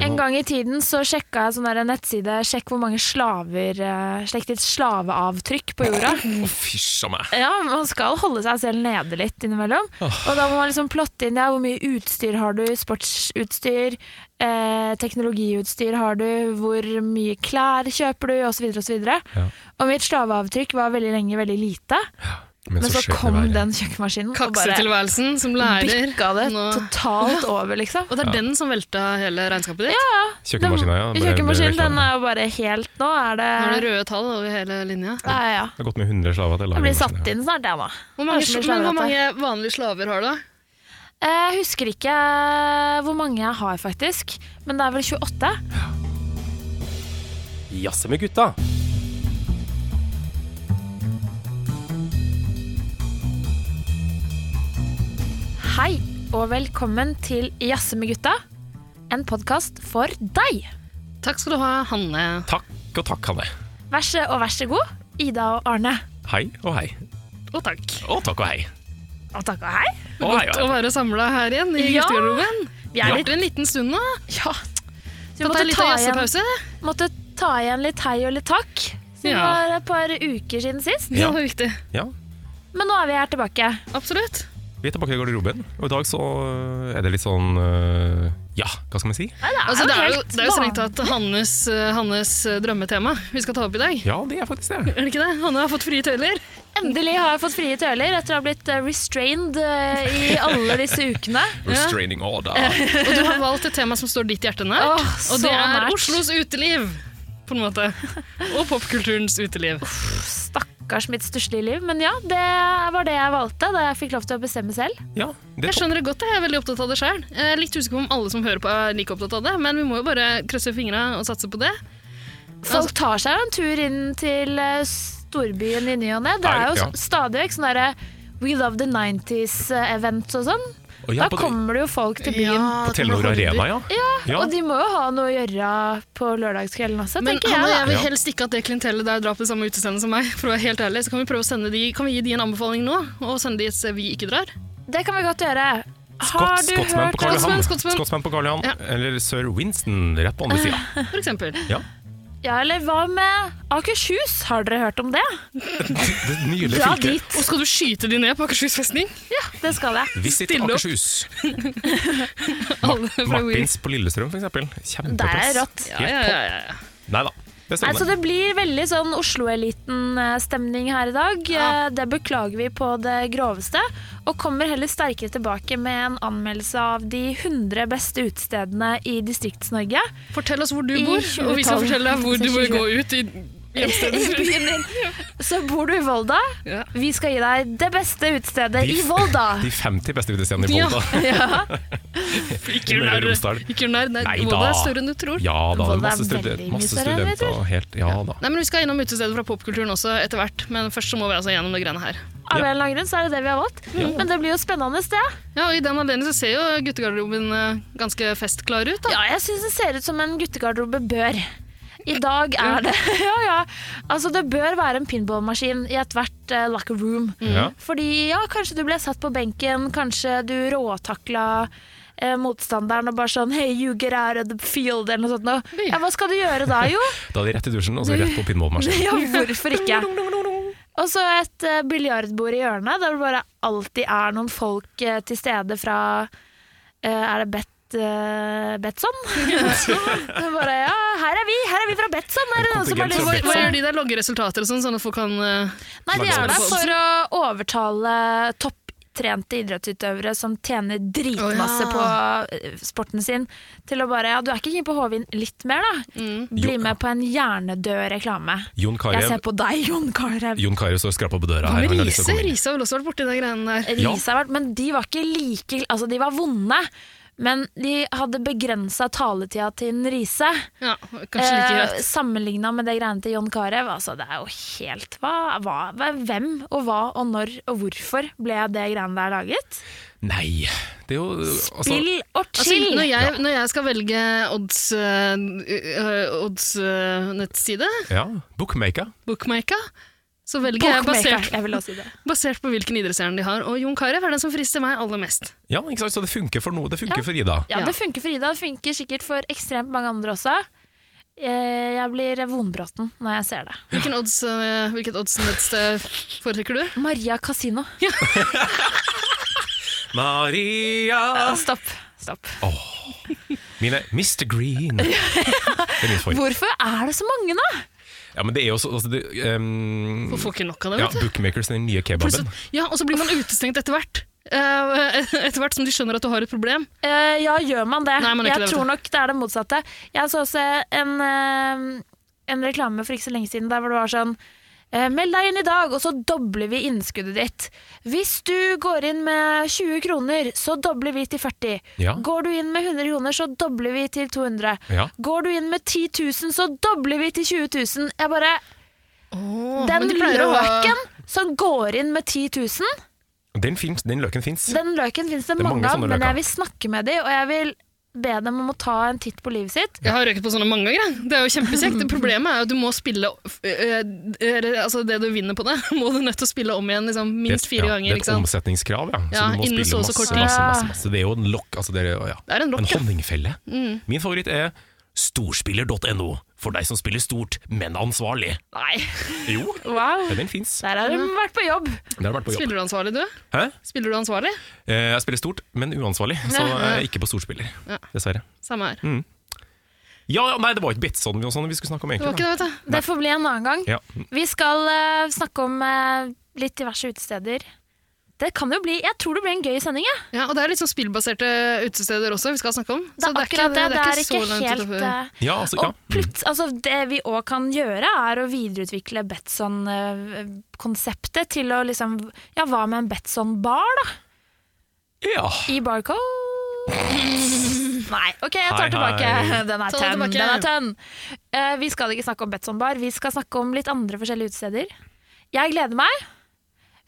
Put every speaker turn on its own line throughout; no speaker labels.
En gang i tiden så sjekka jeg sånn der nettside Sjekk hvor mange slaver eh, Slekt ditt slaveavtrykk på jorda.
Fysj a meg.
Ja, Man skal holde seg selv nede litt innimellom. Og da må man liksom plotte inn ja, hvor mye utstyr har du, sportsutstyr, eh, teknologiutstyr har du, hvor mye klær kjøper du, osv. osv.
Ja.
Og mitt slaveavtrykk var veldig lenge veldig lite, men, så,
skjøt det
kom
været.
den kjøkkenmaskinen og bare
Kaksetilværelsen som lærer.
bykka det
Nå.
totalt over, liksom.
Og det er den som velta hele regnskapet ditt?
Kjøkkenmaskina, ja. ble- ble
Kjøkkenmaskinen,
veldig
den er jo bare helt Nå er det
Nå er det røde tall over hele linja.
Ja, ja, ja.
Det har gått med 100 slaver til
Jeg
lagermaskinen.
blir satt inn snart, jeg, nå.
Hvor mange,
Kanskje vi
men
klarer
hvor
dette.
mange vanlige slaver har du, da?
Eh, Jeg husker ikke eh, hvor mange jeg har, faktisk. Men det er vel 28.
Jazze med gutta.
Hei, og velkommen til Jazze med gutta. En podkast for deg.
Takk skal du ha, Hanne.
Takk og takk, Hanne.
Vær så og vær så god, Ida og Arne.
Hei og hei.
Og takk.
Og takk og hei.
Og takk og hei.
Og hei,
Å
og hei.
være samla her igjen i
Ja.
guttegarderoben.
Vi
Det
er
har
litt
vært en liten stund nå.
Ja. Så vi
Tatt
måtte
en
ta,
liten
igjen,
jazzepause.
måtte ta igjen litt hei og litt takk. Så det
Ja.
var et par uker siden sist.
Det
Ja.
var viktig.
Ja,
Men nå er vi her tilbake.
Absolutt.
vi er tilbake i garderoben, og i dag så er det litt sånn øh, Ja, hva skal vi si?
Nei, det er,
Altså, det er jo,
helt
det er jo strengt
vanlig.
tatt Hannes, eh, Hannes eh, drømmetema vi skal ta opp i dag.
Ja, det er faktisk det.
Er det ikke det? Hanne har fått frie tøyler.
Endelig har jeg fått frie tøyler etter å ha blitt eh, restrained eh, i alle disse ukene.
Restraining order.
Og du har valgt et tema som står ditt hjerte nært.
Åh,
og
så
det er
nært.
Oslos uteliv, på en måte. Og popkulturens uteliv.
Stakkars mitt stusslige liv. Men ja, det var det jeg valgte da jeg fikk lov til å bestemme selv.
Ja, det
Jeg
er topp.
skjønner det godt, jeg er veldig opptatt av det sjøl. Jeg er litt usikker på om alle som hører på er like opptatt av det, men vi må jo bare krysse fingra og satse på det.
Altså-
Folk tar seg jo en tur inn til eh, storbyen i ny og ne. Det
Nei,
er jo
ja.
s- stadig vekk sånn derre We Love the 90s-event og sånn.
Og ja,
da
på,
kommer det jo folk til byen.
på Telenor Arena, ja. Ja,
Og de må jo ha noe å gjøre på lørdagskvelden også,
Men
tenker
Hanne,
jeg.
jeg vil
Ja.
helst ikke at det klientellet der drar på det samme utestedet som meg. For å være helt ærlig, så Kan vi prøve å sende de, kan vi gi de en anbefaling nå, og sende de et sted vi ikke drar?
da. Det kan vi godt gjøre. Har
Skotts-
du
Skottsmenn på
hørt
Karl
om
Johan.
Skottsmenn, Skottsmenn.
Skottsmenn på Karl Johan.
Ja.
Eller Sir Winston, rett på andre sida.
For eksempel.
Ja, eller hva med Akershus? Har dere hørt om det?
Det nydelige
Dra
fylket.
dit.
Og skal du skyte de ned på Akershus festning?
Det skal jeg.
Visit
Stille opp.
Akershus.
Alle fra Wien.
Martins på Lillestrøm, for eksempel.
Det er
Kjempeplass.
rått.
Ja, ja, ja, ja.
Nei
Nei,
da. Det er
så
strålende.
Altså, det blir veldig sånn Oslo-eliten-stemning her i dag.
Ja.
Eh, Det beklager vi på det groveste, og kommer heller sterkere tilbake med en anmeldelse av de 100 beste utestedene i Distrikts-Norge.
Fortell oss hvor du
I Altså
bor, og vi
2012.
skal fortelle deg hvor du bør gå ut i hjemstedet.
Så bor du i Volda,
Ja.
vi skal gi deg det beste utestedet
De-
i Volda.
De 50 beste utestedene i
Ja.
Volda.
Ja.
Ikke
Møre og
nær.
Romsdal.
Ikke nær. Nei,
Nei
Volda
da.
er større enn du tror.
Ja da, det
Volda
er
er
masse, student,
veldig mye
masse
større, vet du.
studenter og helt Ja da.
Nei, men Vi skal innom utestedet fra popkulturen også etter hvert, men først så må vi altså gjennom det greiene her.
Av en eller annen grunn så er det det vi har valgt. Men det blir jo spennende sted.
Ja, og I den anledning så ser jo guttegarderoben eh, ganske festklar ut. da.
Ja, jeg syns det ser ut som en guttegarderobe bør. I dag er det Ja, ja. Altså, det bør være en pinballmaskin i ethvert eh, locker room.
Ja.
Fordi ja, kanskje du ble satt på benken, kanskje du råtakla eh, motstanderen og bare sånn Hey, you get out of the field, eller noe sånt noe. Ja, hva skal du gjøre da, jo?
Da er de rett i dusjen, og så rett på pinballmaskinen.
ja, hvorfor ikke? Og så et eh, biljardbord i hjørnet, der det bare alltid er noen folk eh, til stede fra eh, Er det Bet... eh, Betson? Så bare, ja, her er vi, her er vi fra Betson! Er det noen som har
Kontingent
lyst
fra
Hva,
til
hva gjør de der? Logger resultater og sånn, sånn at folk kan eh,
Nei, de er der
Slagsvold.
for å overtale topptrente idrettsutøvere som tjener dritmasse
Å,
på eh, sporten sin, til å bare Ja, du er ikke keen på Håvin litt mer, da? Bli
Jo.
med på en hjernedød reklame.
Jon
Jeg
Carew
ser på deg, Jon Carew.
Jon Carew står og skraper på døra her.
Men
Han har lyst
Riise
til å komme inn.
Riise har vel også vært borti de greiene der.
Ja.
Riise har vært Men de var ikke like Altså, de var vonde. Men de hadde begrensa taletida til en Riise.
Ja, kanskje like greit.
eh, Sammenligna med det greiene til Jon Carew. Altså, det er jo helt hva, hva, hva- Hvem og hva og når og hvorfor ble det greiene der laget?
Nei, det er jo altså,
Spill og
Altså,
chill!
når, jeg, når jeg skal velge odds, øh, øh, odds øh, nettside,
Ja, bookmaker.
bookmaker, Så velger jeg
Bookmaker,
basert,
jeg vil også si det.
basert på hvilken idrettsstjerne de har. Og Jon Carew er den som frister meg aller mest.
Ja, ikke sant? Så det funker for noe. Det
Ja.
funker for Ida.
Ja,
Ja.
det funker for Ida. Det funker sikkert for ekstremt mange andre også. Eh, Jeg blir vondbråten når jeg ser det.
Hvilken odds, eh, hvilket oddsnettsted foretrekker du?
Maria Casino.
Maria!
Stopp. Stopp.
Mine Mr. Green. Det er min favoritt.
Hvorfor er det så mange, da?
Ja, men det er jo så altså, det, ehm,
Og får ikke nok av det,
ja,
vet du.
Bookmakers, den nye
Plutselig-
kebaben.
Ja, og så blir man utestengt etter hvert. Eh, etter hvert som de skjønner at du har et problem.
Eh, ja, gjør man det?
Nei, man gjør
jeg
ikke det, vet
tror nok det er det motsatte. Jeg så også en, eh, en reklame for ikke så lenge siden der hvor det var sånn eh, Meld deg inn i dag, og så dobler vi innskuddet ditt. Hvis du går inn med 20 kroner, så dobler vi til 40.
Ja.
Går du inn med 100 kroner, så dobler vi til 200.
Ja.
Går du inn med 10 000, så dobler vi til 20 000. Jeg bare, den løken som går inn med 10 000,
Den, fins- den løken fins.
den løken finnes det,
Det er mange
mange av,
sånne
men
løker.
jeg vil snakke med dem, og jeg vil be dem om å ta en titt på livet sitt.
Jeg har røket på sånne mange ganger. jeg. Det er jo kjempekjekt. Problemet er jo at du må spille eh, eh, Altså det du vinner på det, må du nødt til å spille om igjen liksom, minst
Det-
fire
ja,
ganger.
Det
Ikke
er et
sant?
omsetningskrav, ja.
Ja,
så du må
innen
spille
så og så
masse,
kort
masse,
tid.
masse,
Ja.
masse. Det er jo en lokk. Altså, det er, ja.
Det er en lokk, ja. Mm.
honningfelle. Min favoritt er storspiller.no, for deg som spiller stort, men ansvarlig.
Nei,
Jo,
wow.
ja, den fins.
Der har de vært på jobb.
Den har vært på jobb.
Spiller du ansvarlig, du?
Hæ?
Spiller du ansvarlig?
Eh, Jeg spiller stort, men uansvarlig, så
Ja.
eh, ikke på storspiller,
Ja.
dessverre.
Samme her.
Ja, ja, nei, det var ikke Betson og sånn vi skulle snakke om
Det var
egentlig.
ikke det, vet du.
Det får bli en annen gang.
da. Ja.
Vi skal eh, snakke om eh, litt diverse utesteder. Det kan jo bli, Jeg tror det blir en gøy sending. jeg.
Ja, og det er litt sånn spillbaserte utesteder også vi skal snakke om.
Det er akkurat det. Det er ikke,
langt
helt
utenfor.
eh,
ja, altså, ja.
Og plutselig, altså, det vi òg kan gjøre, er å videreutvikle Betson-konseptet til å liksom Ja, hva med en Betson-bar, da?
ja.
I Barco? Nei, OK, jeg
Hei,
tar tilbake.
hei.
Den er
Ta
tønn.
tilbake.
Den er tønn. Eh, vi skal ikke snakke om Betson-bar, vi skal snakke om litt andre forskjellige utesteder. Jeg gleder meg.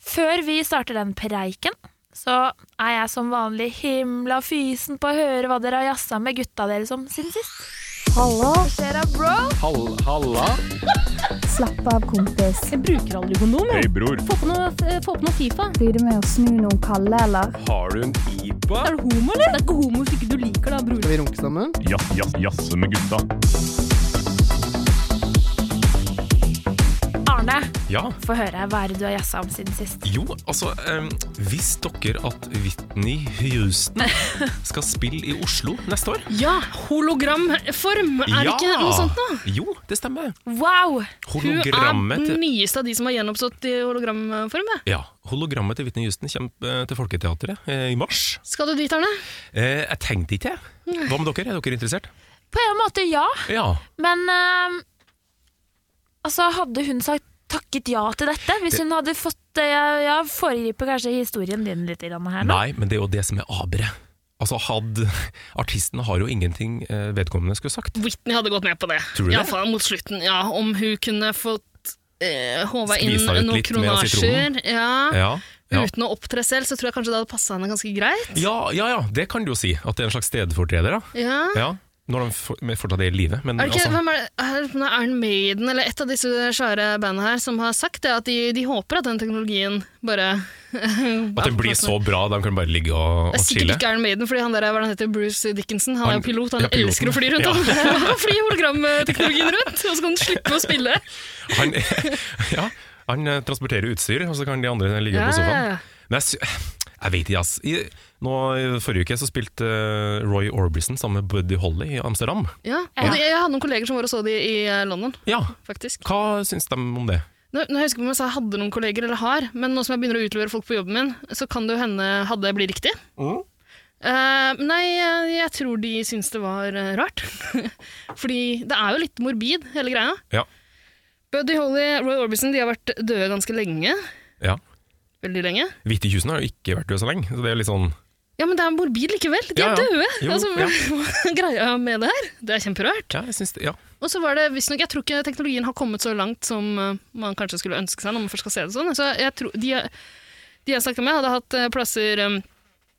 Før vi starter den preiken, så er jeg som vanlig himla fysen på å høre hva dere har jazza med gutta deres om siden sist. Hallo. Hva skjer da, bro?
Slapp av, kompis.
Jeg bruker aldri kondom. jeg.
Hei, bror.
Få på noe, eh, få på noe Fifa.
Blir du med å snu noen kalde, eller?
Har du en pipa?
Er du homo, eller? Det er ikke homo hvis ikke du liker det, bror.
Skal vi runke sammen?
Jass, jass, jasse med gutta.
Arne,
ja.
få høre hva er det du har jazza om siden sist.
Jo, altså um, Visste dere at Whitney Houston skal spille i Oslo neste år?
Ja, hologramform! Er det ikke noe sånt, da?
Jo, det stemmer.
Wow!
Hun er
Hologrammet
den
til,
nyeste av de som har gjenoppstått i hologramform. ja.
ja, hologrammet til Whitney Houston kommer eh, til Folketeatret eh, i mars.
Skal du dit, Arne?
Eh, jeg tenkte ikke, jeg. Hva med dere? Er dere interessert?
På en måte, ja.
Ja.
Men eh, altså, hadde hun sagt takket ja til dette? Hvis hun hadde fått det Jeg, jeg foregriper kanskje historien din litt grann her nå.
Nei, men det er jo det som er abere. Altså, had, Artisten har jo ingenting eh, vedkommende skulle sagt.
Whitney hadde gått med på det.
Tror du
ja,
det?
faen, mot slutten, ja. Om hun kunne fått eh, håva inn
Skvisa ut
noen
litt med
kronasjer ja,
Ja, ja.
uten å opptre selv, så tror jeg kanskje det hadde passa henne ganske greit.
ja, ja, ja det kan du jo si. At det er en slags stedfortreder. da.
Ja.
Ja, Når de for, men fortsatt er i live. Men
Er det ikke,
altså,
hvem er det? Er det Iron Maiden eller et av disse svære bandene her som har sagt det, at de, de håper at den teknologien bare
at det blir så bra, de kan bare ligge og,
Det er
og
sikkert
chille.
ikke Iron Maiden, fordi han der er, hva er det han heter, Bruce Dickinson, han er jo
Han-
pilot, han
ja, piloten.
elsker å fly rundt.
Ja.
Han kan fly hologramteknologien rundt, og så kan han slippe å spille.
Han, ja, han eh, transporterer utstyr, og så kan de andre ligge
Ja,
på
ja, ja.
sofaen. Men jeg, sy- jeg vet ikke, ass. I, nå, I forrige uke så spilte eh, Roy Orbison sammen med Buddy Holly i Amsterdam.
Ja, og det- Jeg hadde noen kolleger som var og så de i eh, London,
Ja,
faktisk.
Hva syns de om det?
Nå, nå husker jeg ikke om jeg sa jeg hadde noen kolleger, eller har, men nå som jeg begynner å utlevere folk på jobben min, så kan det jo hende hadde blir riktig. Eh, nei, eh, jeg tror de syns det var eh, rart. Fordi det er jo litt morbid, hele greia.
Ja.
Buddy Holly Roy Orbison de har vært døde ganske lenge.
ja.
Veldig lenge.
Hvite Husen har jo ikke vært død så lenge, så det er litt sånn
Ja, men det er morbid likevel. De
Ja,
er
ja.
døde!
Jo,
altså,
ja.
hva er greia med det her? Det er kjemperart.
Ja, jeg syns det. Ja.
Og så var det visstnok Jeg tror ikke teknologien har kommet så langt som eh, man kanskje skulle ønske seg når man først skal se det sånn. Så jeg tror, de, de jeg snakket med, hadde hatt eh, plasser eh,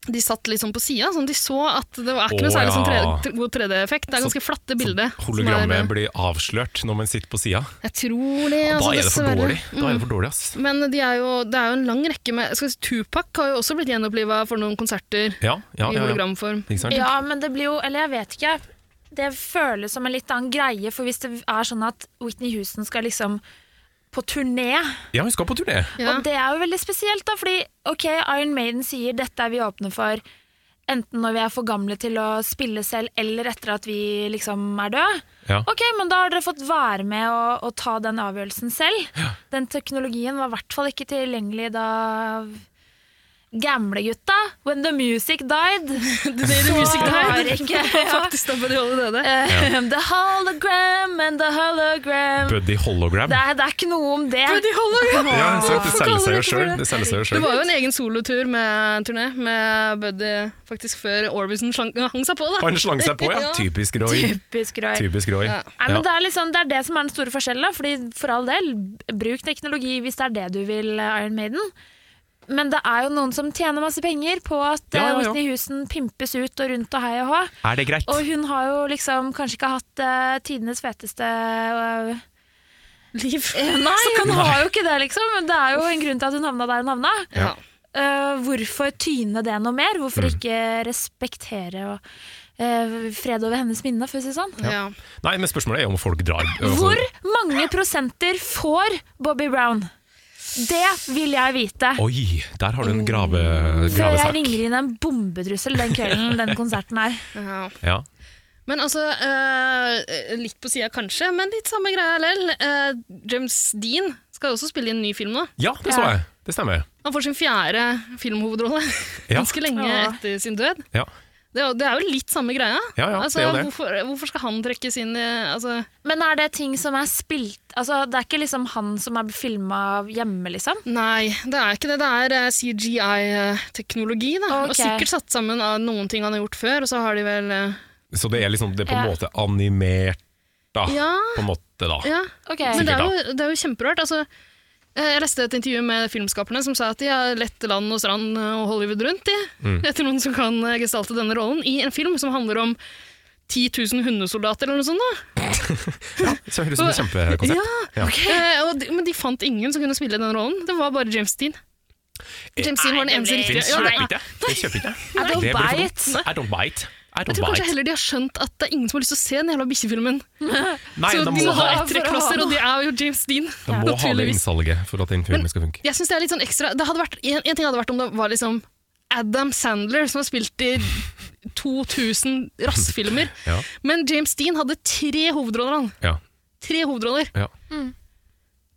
de satt litt sånn på sida, sånn at de så at det var ikke
Å,
noe særlig sånn
ja. Sånn
3D, god 3D-effekt. Det er ganske flatte bilder.
Hologrammet blir avslørt når man sitter på sida.
Jeg tror det,
Da
altså,
er det for
dessverre.
dårlig. Da er
Mm.
det for dårlig, ass.
Men de er jo, det er jo en lang rekke med skal vi si, Tupac har jo også blitt gjenoppliva for noen konserter
Ja, ja,
i
ja, ja.
hologramform.
Ikke sant?
Ja, men det blir jo Eller jeg vet ikke. Det føles som en litt annen greie, for hvis det er sånn at Whitney Houston skal liksom på turné,
Ja, hun skal på turné.
Ja.
og det er jo veldig spesielt, da, fordi ok, Iron Maiden sier dette er vi åpne for enten når vi er for gamle til å spille selv, eller etter at vi liksom er døde.
Ja.
Ok, men da har dere fått være med og, og ta den avgjørelsen selv. Den teknologien var i hvert fall ikke tilgjengelig da gamlegutta When the music died.
The Day the Music
har
Died.
ikke ja.
Faktisk, da på de holde det.
Eh, The hologram and the hologram
Buddy Hologram.
det er, det er ikke noe om det.
Ja, ikke sant? det
Hvorfor kaller du det
selger seg jo
for
sjøl.
det?
Det selger seg jo
Det
selv.
var jo en egen solotur med turné med Buddy faktisk før Orbison slank- hang seg på. da.
Han slang seg på, ja. Typisk Roy.
Typisk Roy.
Typisk Roy.
Ja.
Nei, men
Ja.
det, er liksom, det er det som er den store forskjellen. da. Fordi for all del, bruk teknologi hvis det er det du vil, eh, Iron Maiden. Men det er jo noen som tjener masse penger på at eh,
Ja, ja, ja.
Whitney Houston pimpes ut og rundt og hei og hå.
Er det greit?
Og hun har jo liksom kanskje ikke hatt eh, tidenes feteste eh,
Liv.
Nei, hun har jo ikke det, liksom. Men det er jo en grunn til at hun havna der hun havna.
Ja.
Eh, hvorfor tyne det noe mer? Hvorfor
Mm.
ikke respektere og, eh, fred over hennes minne, for å si det sånn?
Ja.
Nei, men spørsmålet er om folk drar.
Hvor mange prosenter får Bobby Brown? Det vil jeg vite.
Oi, der har du
Mm.
en grave,
Før jeg
gravesak.
ringer inn en bombetrussel den kvelden den konserten er.
Ja.
Ja.
Men altså, eh, litt på sida kanskje, men litt samme greia lell. Eh, James Dean skal jo også spille i en ny film nå.
ja, det så
Ja.
jeg. Det stemmer.
Han får sin fjerde filmhovedrolle
Ja.
ganske lenge
Ja.
etter sin død.
Ja.
Det er, jo- det er jo litt samme greia.
Ja, ja,
altså,
det er jo det.
Hvorfor, hvorfor skal han trekkes inn i altså,
Men er det ting som er spilt Altså, det er ikke liksom han som er filma hjemme, liksom?
Nei, det er ikke det. Det er eh, CGI-teknologi. da.
Ok.
Og sikkert satt sammen av noen ting han har gjort før, og så har de vel eh,
Så det er liksom det er på en
Ja.
måte animert, da.
Ja.
På en måte, da.
ja.
Ah. Ok.
Men det er jo, det er jo kjemperart. Altså, eh, jeg leste et intervju med filmskaperne som sa at de har lett land og strand og Hollywood rundt de,
Mm.
etter noen som kan eh, gestalte denne rollen i en film som handler om 10 000 hundesoldater eller noe sånt. Da.
Så høres ut som et kjempekonsept. Ja.
Eh, og de, men de fant ingen som kunne spille den rollen. Det var bare James Dean.
Eh,
James Dean var den eneste
Den
riktige. Ja,
kjøper
nei.
ikke jeg. Den kjøper ikke jeg.
I don't
Det blir for
buy
dumt.
it.
I don't buy it. I
Jeg
don't
tror
buy
kanskje
it.
heller de har skjønt at det er ingen som har lyst til å se den jævla bikkjefilmen.
Nei,
Så
de
de
må
må ha
ha,
et-
etterklasser, og det er jo James Dean.
de må ha det
Naturligvis.
innsalget for at den filmen skal funke.
Jeg synes det er litt sånn ekstra det hadde vært, en, en ting hadde vært om det var liksom Adam Sandler, som har spilt i 2000 rassfilmer.
Ja.
Men James Dean hadde tre hovedroller. Han.
Ja.
Tre hovedroller.
Ja.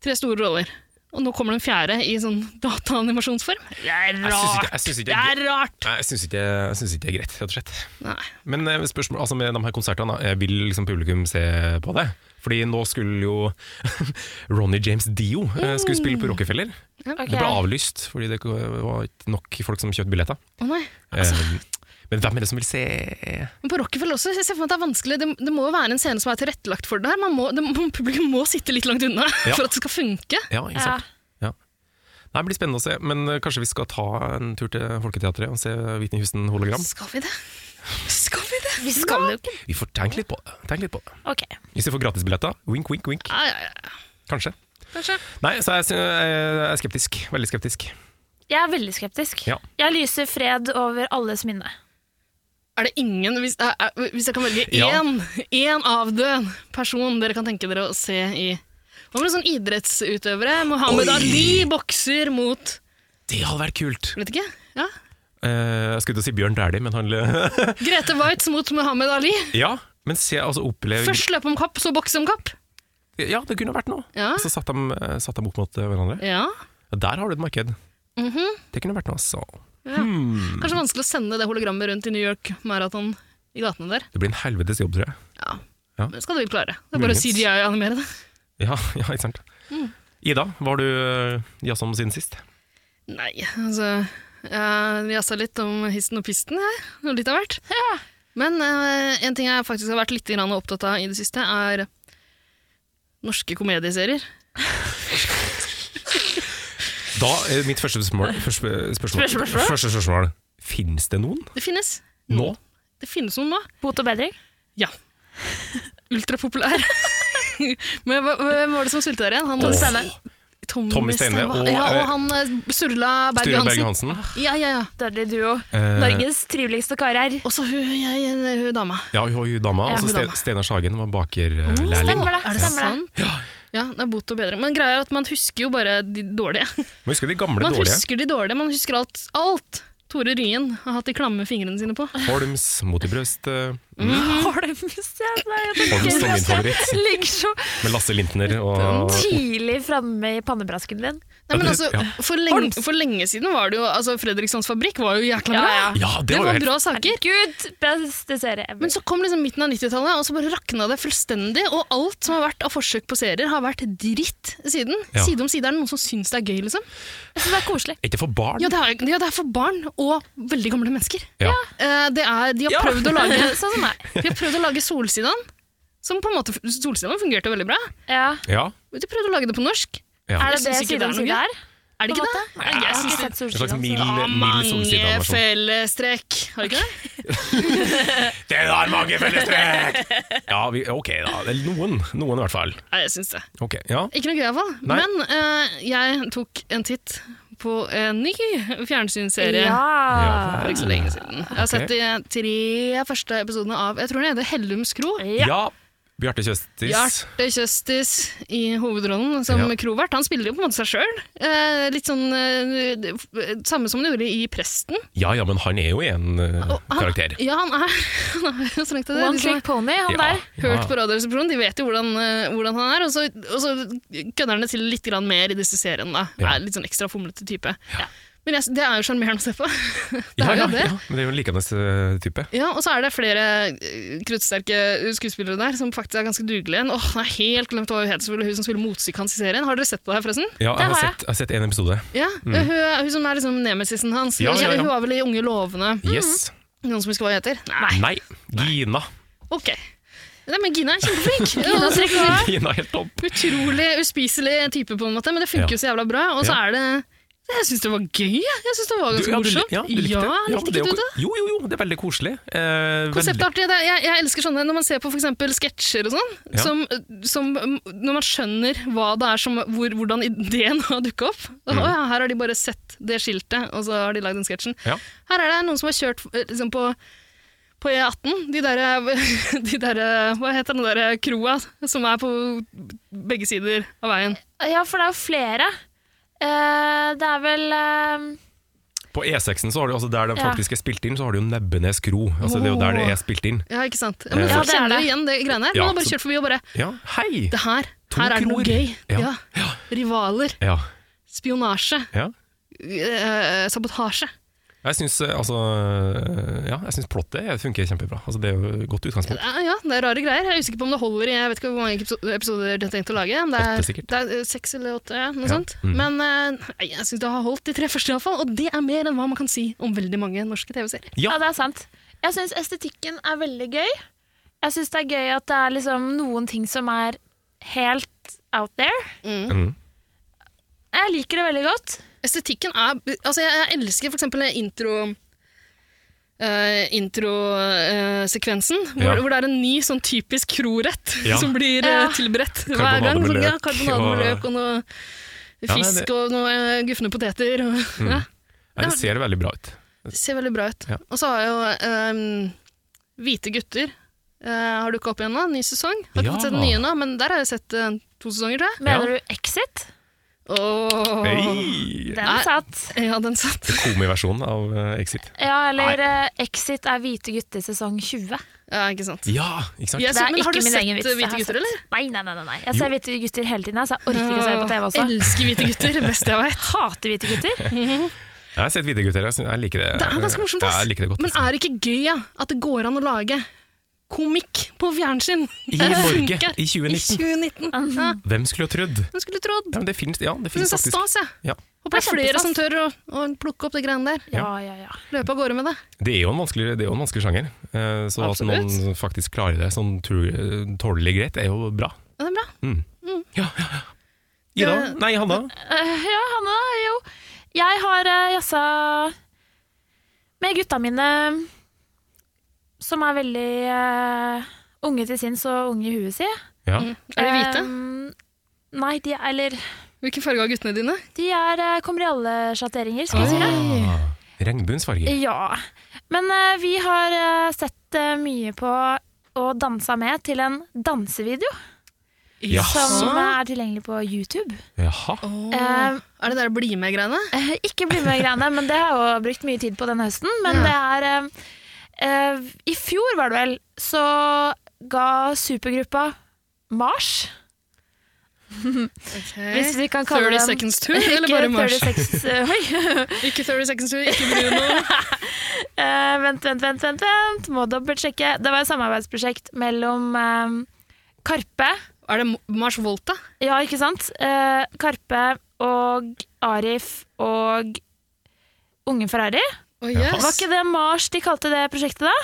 Tre store roller. Og nå kommer den fjerde i sånn dataanimasjonsform. Det er
Jeg syns ikke, jeg synes ikke,
rart! Det er rart!
Nei, jeg syns ikke, jeg synes ikke det er greit, rett og slett.
Nei.
Men eh, spørsmål, altså med de her konsertene, da, eh, vil liksom publikum se på det? Fordi nå skulle jo Ronny James Dio eh, skulle spille på Rockefeller.
Mm. Ok.
Det ble avlyst fordi det var ikke nok folk som kjøpte billetter.
Å nei.
Altså.
Eh, Men hvem er det som vil se
Men på Rockefeller også, jeg ser for meg at det er vanskelig. Det, det må jo være en scene som er tilrettelagt for det her. Man må, det, publikum må sitte litt langt unna
Ja.
for at det skal funke.
Ja, ikke
Ja.
sant? Ja. Nei, det blir spennende å se, men eh, kanskje vi skal ta en tur til Folketeatret og se Whitney Houston hologram?
Skal vi det? Skal vi det?
Vi skal jo ikke
Vi får tenke litt på det. Tenk litt på det.
Ok.
Hvis vi får gratisbilletter, wink, wink, wink.
Ja, ja, ja.
Kanskje.
Kanskje.
Nei, så jeg, sy- jeg er skeptisk. Veldig skeptisk.
Jeg er veldig skeptisk.
Ja.
Jeg lyser fred over alles minne.
Er det ingen, hvis, eh, eh, hvis jeg kan velge
Ja.
én, én avdød person dere kan tenke dere å se i Hva med sånn idrettsutøvere? Mohammed
Oi.
Ali bokser mot
Det hadde vært kult!
Vet ikke. Ja.
Eh, jeg skulle til å si Bjørn Dæhlie, men han
Grete Waitz mot Mohammed Ali.
Ja, men se, altså oppleve
Først løpe om kapp, så bokse om kapp.
Ja, det kunne vært noe.
Ja.
Så satt de, eh, satt de opp mot eh, hverandre.
ja.
Ja, Der har du et marked.
Mhm.
Det kunne vært noe, altså.
Kanskje vanskelig å sende det hologrammet rundt i New York Marathon i gatene der.
Det blir en helvetes jobb, tror jeg.
Ja.
Ja.
Men skal du vel klare. Det er bare å
Muligens.
CGI-animere det.
Ja, ja ikke sant. Ida, var du eh, jazza om siden sist?
Nei, altså Jeg jazza litt om histen og pisten, jeg. Og litt av hvert. Men eh, en ting jeg faktisk har vært litt grann opptatt av i det siste, er norske komedieserier.
Da er mitt første spørsmål, første spørsmål,
Spørsmål?
Første spørsmål. Fins det noen
Det finnes.
nå?
Det finnes noen nå.
Bot og bedring?
Ultrapopulær. Men hva- hvem var det som sulta der igjen? Han,
Åh.
Tommy,
Tommy Steine og-
ja, og han eh, Sturla Berg
Sture Berge
Johansen. Ah,
Hansen.
Ja, ja, ja.
Dødelig duo.
Eh,
Norges triveligste karer.
Og så hun, jeg, jeg, hun dama.
Ja, hun hun dama.
Ja,
Altså,
hun
Ste
dama. Mm,
Steinar Sagen var eh, bakerlærling.
Stemmer det.
Er det
stemmer det.
sant? Ja. det er bot og bedring. Men greia er at man husker jo bare de dårlige.
Men husker du de gamle
Man
dårlige?
husker de dårlige, man husker alt. alt. Tore Ryen har hatt de klamme fingrene sine på.
Holms, Mot i brøstet, mm.
Holmes, ja. Nei, jeg
Holms
tenker
som min
at det
favoritt,
Ligger så
med Lasse Lintner og
tidlig framme i pannebrasken din.
Nei, men altså,
Ja.
for, lenge, for lenge siden var det jo altså, Fredrikssons Fabrikk var jo jækla bra.
Ja, ja.
Ja, det var
Det
jo
var
helt
bra saker.
Herregud, beste serie ever.
Men så kom liksom midten av 90-tallet, og så bare rakna det fullstendig. Og alt som har vært av forsøk på serier, har vært dritt siden.
Ja.
Side om side er det noen som syns det er gøy, liksom.
Jeg synes det er koselig.
Ikke for barn.
Ja det, er, ja, det er for barn og veldig gamle mennesker.
Ja.
Eh, det er, de, har prøvd å lage,
Sånn som meg.
de har prøvd å lage Solsidan, som på en måte Solsidan fungerte veldig bra.
Ja.
Ja.
De prøvde å lage det på norsk.
Ja.
Er det
Jeg
det
synes ikke
side om
det er
side
noe
er?
Er det ikke det?
Nei, jeg har ikke sett
En slags
solsiden.
mild,
altså.
Ah,
mild
mange
solsideanversjon.
fellestrekk. Har du ikke det?
Det er mange fellestrekk! Ja, vi, ok da. Det er Noen, noen i hvert fall.
Nei, jeg syns det.
Ok, ja.
Ikke noe greie, iallfall.
Nei.
Men eh, jeg tok en titt på en ny fjernsynsserie.
Ja.
For ikke så lenge siden. Jeg har sett de tre første episodene av Jeg tror den heter Hellums kro.
Ja. Bjarte Kjøstis.
Bjarte Kjøstis i hovedrollen som
Ja.
krovert. Han spiller jo på en måte seg sjøl. Eh, litt sånn eh, f- Samme som han gjorde i Presten.
Ja, ja, men han er jo en eh,
Og han-
karakter.
Ja, han er, han er jo strengt tatt det.
One
De som
Trick Pony, han
Ja,
der.
ja.
hørt på Radioresepsjonen, de vet jo hvordan, eh, hvordan han er. Og så, og så kødder han det til litt grann mer i disse seriene. Da.
Ja.
Er litt sånn ekstra fomlete type. Men jeg, det er jo sjarmerende å se på. det
Ja,
er
ja,
jo det.
ja, men det er jo en likende eh, type.
Ja, og så er det flere eh, kruttsterke skuespillere der som faktisk er ganske dugelige. En- Åh, jeg har helt glemt hva hun heter, selvfølgelig, hun som spiller motsyke hans i serien. Har dere sett på det her, forresten?
Ja,
Det
jeg har
har jeg.
sett, jeg har sett en episode.
Ja, hun, hun som er liksom nemesisen hans.
Mm. Ja, ja, ja.
Hun var vel i Unge lovende.
Yes.
Noen som husker hva hun heter?
Nei. Gina.
Ok. Nei, men Gina er kjempeflink.
Gina Trick Pony.
Gina er helt topp.
Utrolig uspiselig type, på en måte, men det funker
Ja.
jo så jævla bra. Og så er det Jeg syns det var gøy, jeg. Jeg syns det var ganske
ja, du,
morsomt.
ja, du likte det. Ja,
likte
men det er
ikke
jo-
du det?
Jo, jo, jo, det er veldig koselig. Eh,
Konseptet er artig. Det er- Jeg, jeg elsker sånne når man ser på f.eks. sketsjer og sånn.
Ja.
Som, som um, Når man skjønner hva det er som, hvor, hvordan ideen har dukka opp. Å
Mm.
ja, her har de bare sett det skiltet, og så har de lagd den sketsjen.
Ja.
Her er det noen som har kjørt eh, liksom, på på E18, de der, de der eh, Hva heter den der kroa som er på begge sider av veien?
Ja, for det er jo flere. Eh, det er vel eh,
På E6-en, så har du, altså der det
Ja.
faktisk er spilt inn, så har du jo Nebbenes kro. Altså, det er jo der det er spilt inn.
Ja, ikke sant? Ja, men
Eh,
Folk
Ja, det er
kjenner
det.
jo igjen det greiene her.
Ja,
Man har bare
så-
kjørt forbi og bare
Ja, hei!
Det her,
To
her er det noe
kroer.
gøy.
Ja.
Ja. Rivaler,
Ja,
spionasje,
ja.
eh, sabotasje.
Jeg syns eh, altså, eh, ja, jeg syns plottet eh, funker kjempebra. Altså, det er jo et godt utgangspunkt.
Ja, ja, det er rare greier. Jeg er usikker på om det holder i jeg vet ikke hvor mange episo- episoder de har tenkt å lage. men Det er,
Åtte, sikkert.
det er eh, seks eller åtte, ja, noe
Ja,
sånt.
mm.
Men eh, nei, jeg syns det har holdt de tre første, iallfall. Og det er mer enn hva man kan si om veldig mange norske TV-serier.
Ja.
Ja, det er sant. Jeg syns estetikken er veldig gøy. Jeg syns det er gøy at det er liksom noen ting som er helt out there.
Mm.
Jeg liker det veldig godt.
Estetikken er Altså, jeg, jeg elsker for eksempel intro... eh, Introsekvensen, eh, hvor,
Ja.
hvor det er en ny sånn typisk krorett
Ja.
som blir eh,
Ja.
tilberedt hver gang.
Karbonade med
Sånn, ja,
løk,
karbonade med
og-
løk og noe
Ja, nei,
fisk
det- Mm.
og noe eh, gufne poteter. Og, ja,
Nei, det ser veldig bra ut.
det ser veldig bra ut.
Ja.
Og så har jo eh, Hvite gutter eh, har dukka opp igjen nå, ny sesong. Har ikke
Ja.
fått sett den nye nå, men der har jeg sett eh, to sesonger, tror jeg.
Mener
Ja.
du Exit?
Åh.
Hey.
Den
Nei.
satt.
Ja, den satt.
Komiversjonen av eh, Exit.
Ja, eller eh, Exit er Hvite gutter sesong 20.
Ja, ikke sant.
Ja, ikke sant?
Jeg
Det
så-
er
men har
ikke
du
min
sett
egen vits. Jeg
Hvite
har
gutter,
sett-
eller?
Nei, nei, nei. nei, nei. Jeg ser Hvite gutter hele tiden, jeg, så jeg orker ikke å se det på TV også.
Elsker hvite gutter, det beste jeg vet.
Hater Hvite gutter.
Jeg har sett videogutter, jeg, syns- jeg liker det.
Det er ganske morsomt,
Ja,
ass.
Jeg liker det godt. altså.
Men er det ikke gøy ja, at det går an å lage komikk på fjernsyn?
I
Det
Norge
funker.
i 2019!
Mm.
2019. Ja,
Hvem skulle ha trodd?
hvem skulle trodd?
Ja, men det finnes, ja, det
Jeg
finnes
syns det er
faktisk.
stas, jeg.
Ja.
Håper det
Det er
er flere
kjempestas.
som tør å, å plukke opp de greiene der.
Ja, ja, ja.
Løpe av gårde med det.
Det er jo en vanskelig, det er jo en vanskelig sjanger. eh, Så at
Absolutt.
noen faktisk klarer det sånn tru- tålelig greit, er jo bra.
Ja, det er bra.
Mm. Ja, ja, ja. Ida?
Det-
Nei, Hanna?
Eh, ja, Hanne, da. Jo. Jeg har uh, jazza eh, med gutta mine, som er veldig eh, unge til sinns og unge i huet si.
Ja.
Er de hvite?
Ehm, nei, de er, eller
Eh, Hvilken farge har guttene dine?
De er, eh, kommer i alle sjatteringer, skal jeg si det.
Ah, regnbuens farger.
Ja. Men eh, vi har eh, sett eh, mye på og dansa med til en dansevideo
Ja.
som eh, er tilgjengelig på YouTube.
Jaha.
Åh.
Eh,
er det der bli med-greiene?
Eh, Ikke bli med greiene, men det har jeg jo brukt mye tid på denne høsten. Men det er eh, eh, I fjor var det vel, så ga supergruppa Mars Hvis vi kan kalle
30
dem
Seconds Tour, eller bare Mars?
36, eh, oi.
Ikke 30 Seconds Tour, ikke Bruno.
Eh, vent, vent, vent, vent, vent. Må dobbeltsjekke. Det var et samarbeidsprosjekt mellom eh, Karpe
er det Mo- Mars Volta?
Ja, ikke sant? Eh, Karpe og Arif og Unge Ferrari.
Å,
Ja.
yes.
Var ikke det Mars de kalte det prosjektet da?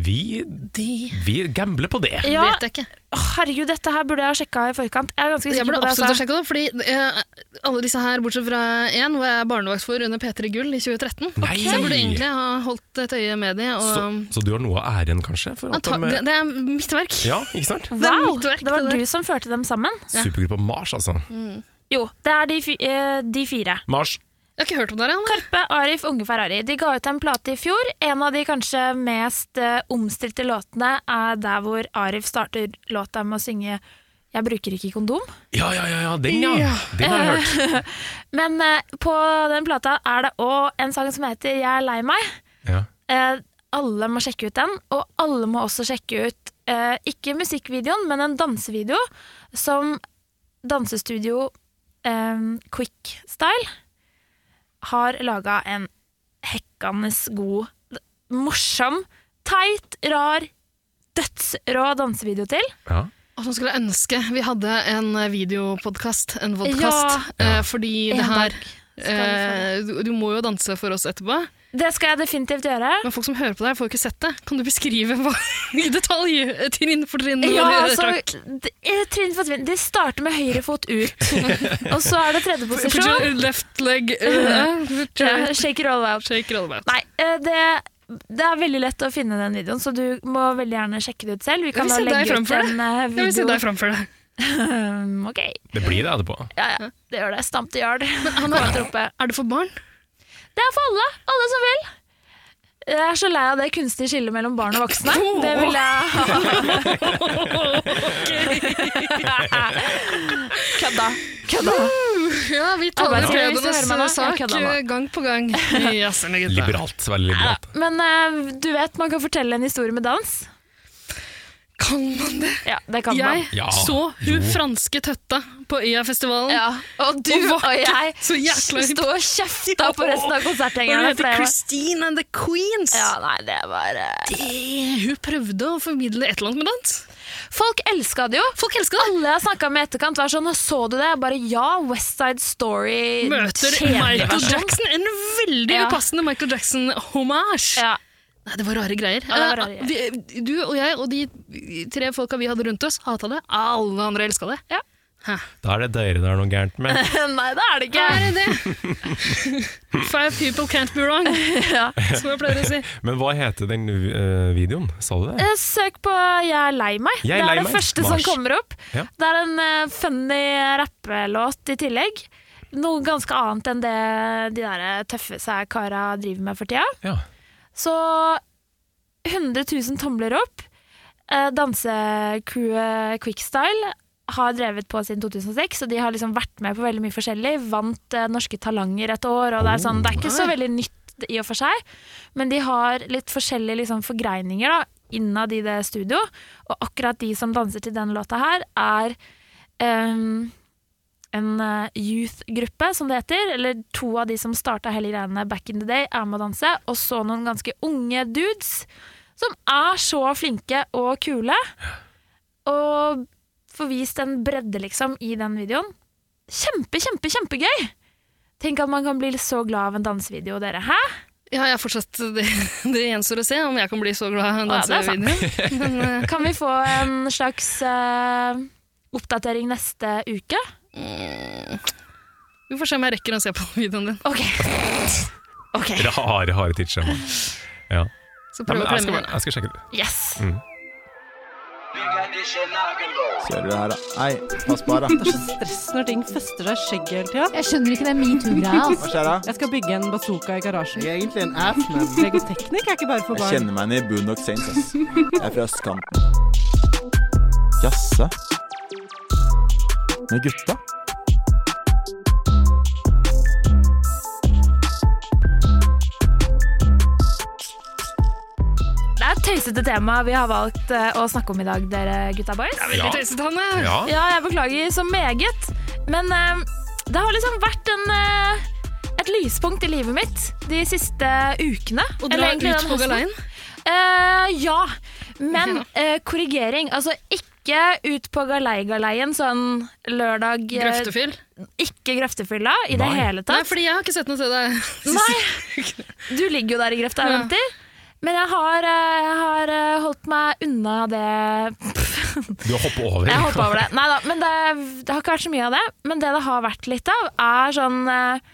Vi,
De
vi gambler på det.
Ja,
vet jeg ikke.
Åh, herregud, dette her burde jeg ha sjekka i forkant. Jeg er ganske
Jeg
sikker
burde
på det.
absolutt ha
altså.
sjekka det, fordi eh, alle disse her, bortsett fra én, var jeg barnevakt for under P3 Gull i 2013.
Nei!
Så jeg burde egentlig ha holdt et øye med de. Og,
Så, så du har noe av æren, kanskje? For at
Anta-
de,
det, det er mitt verk.
ja, ikke sant?
Det er
Wow,
mitt verk,
det var
det der.
du som førte dem sammen?
Ja.
Supergruppa Mars, altså.
Jo, det er de, fi- eh, de fire.
Mars.
Jeg har ikke hørt om dere. Anne.
Karpe, Arif, Unge Ferrari. De ga ut en plate i fjor. En av de kanskje mest eh, omstridte låtene er der hvor Arif starter låta med å synge 'Jeg bruker ikke kondom'.
Ja, ja, ja, ja den, ja. Den har jeg hørt.
Men eh, på den plata er det òg en sang som heter 'Jeg er lei meg'.
Ja.
Eh, alle må sjekke ut den, og alle må også sjekke ut eh, ikke musikkvideoen, men en dansevideo som dansestudio eh, Quick Style har laga en hekkende god, morsom, teit, rar, dødsrå dansevideo til.
Ja.
Og så skulle jeg ønske vi hadde en videopodkast, en vodkast,
Ja.
eh, fordi
En
det
dag
her
skal vi få
eh, du, du må jo danse for oss etterpå.
Det skal jeg definitivt gjøre.
Men folk som hører på deg, får jo ikke sett det. Kan du beskrive hva, i detalj? eh, Trinn for trinn?
Ja,
hva du trakk?
altså, d- eh, trinn for trinn. De starter med høyre fot ut, og så er det tredje
Put your
posisjon.
Left leg eh, put your-
Ja, Shake it all out.
Shake it all about.
Nei, eh, det, det er veldig lett å finne den videoen, så du må veldig gjerne sjekke det ut selv. Vi kan da
vil se deg
legge ut
framfor
en eh,
Jeg vil se
video.
deg framfor deg.
Um, ok,
Det blir det etterpå.
ja, ja, det gjør det. Stamp til jarl.
Han er, er det for barn?
Det er for alle. Alle som vil. Jeg er så lei av det kunstige skillet mellom barn og voksne.
Oh.
Det vil jeg ha. Kødda. Kødda.
Ja, vi
taler
taler
Arbeidsgiver, hvis du hører
pledenes
meg nå.
sak
Jeg kødder nå.
eh, gang på gang. Jaså, men gutta.
Liberalt. Veldig liberalt.
Men eh, du vet, man kan fortelle en historie med dans.
Kan man det?
Ja, det kan man.
Jeg
Ja,
så hun
jo.
franske tøtta på Øyafestivalen.
Ja. Og du
Og
og,
var ikke
jeg
så jækla hypp.
sto og kjefta på resten av
Og hun
konsertgjengerne. for det
heter
var-
Christine and the Queens.
Ja, nei, det var eh,
Eh, Hun prøvde å formidle et eller annet med dans.
Folk elska det jo. Folk elsket det. Alle jeg snakka med i etterkant, var sånn 'Så du det?' Jeg bare ja, West Side Story.
Møter
kjedelig
Michael
versjon.
Jackson. En veldig
Ja.
upassende Michael Jackson-hommage.
Ja.
Nei, det var rare greier.
Ja, det var rare
Eh, vi- du og jeg og de tre folka vi hadde rundt oss, hata det. Alle andre elska det.
Ja.
Hæ.
Da er det dere det er noe gærent med.
Nei, det er det
Hva
ikke.
er det? Five people can't be wrong, som jeg pleier å si.
Men hva heter den eh, videoen? Sa du det?
Eh, Søk på 'Jeg er lei meg'.
Jeg
det
er
er
lei
det
meg.
første
Mars.
som kommer opp.
Ja.
Det er en eh, funny rappelåt i tillegg. Noe ganske annet enn det de der eh, tøffe seg kara driver med for tida.
Ja.
Så 100 000 tomler opp. Eh, Dansecrewet Quickstyle har drevet på siden 2006, og de har liksom vært med på veldig mye forskjellig. Vant eh, Norske Talanger et år, og det er, sånn, det er ikke så veldig nytt i og for seg. Men de har litt forskjellige liksom, forgreininger da, innad i det studio. Og akkurat de som danser til denne låta her, er ehm, en eh, youth-gruppe, som det heter. Eller to av de som starta hele greiene back in the day, er med å danse. Og så noen ganske unge dudes som er så flinke og kule. Og får vist en bredde, liksom, i den videoen. Kjempe, kjempe, kjempegøy! Tenk at man kan bli så glad av en dansevideo, dere. Hæ?
Ja, jeg er fortsatt det, det gjenstår å se om jeg kan bli så glad i en
Ja, det er sant.
dansevideo. Men, eh,
Kan vi få en slags eh, oppdatering neste uke?
Vi får se om jeg rekker å se på videoen din.
Ok. Ok,
Rare, harde tidsskjema. Ja.
Så
Nei,
prøv
men
å
jeg,
klemme
skal,
henne.
jeg skal sjekke det.
yes.
Kjører du her, da? Nei, pass på her, da.
Det er så stress når ting fester seg i skjegget hele tida.
Jeg skjønner ikke den metoo-greia.
Hva
Altså.
skjer da?
Jeg skal bygge en bazooka i garasjen.
Jeg er egentlig en ass, men
Legoteknikk er ikke bare for
Jeg
barn.
kjenner meg igjen i Boondock Saints, ass. Jeg er fra østkanten. Jasse? Med gutta?
Det er et tøysete tema vi har valgt eh, å snakke om i dag, dere gutta boys.
Ja.
Veldig tøysete, Hanne.
Ja.
Ja, jeg beklager så meget, men eh, det har liksom vært en eh, et lyspunkt i livet mitt de siste ukene.
Og
eller
dra
egentlig
ut
den
på
høsten.
galeien.
Eh, ja, men eh, korrigering. Altså ikke ut på galei-galeien sånn lørdag eh,
Grøftefyll.
Ikke grøftefylla i
Nei.
det hele
Nei,
tatt.
fordi jeg har ikke sett noe til deg. Nei.
Du ligger jo der i grøfta og
Ja.
venter. Men jeg har, eh, jeg har eh, holdt meg unna det
Du har hoppet over.
Jeg hoppa over det. Neida, men det, det har ikke vært så mye av det. Men det det har vært litt av, er sånn eh,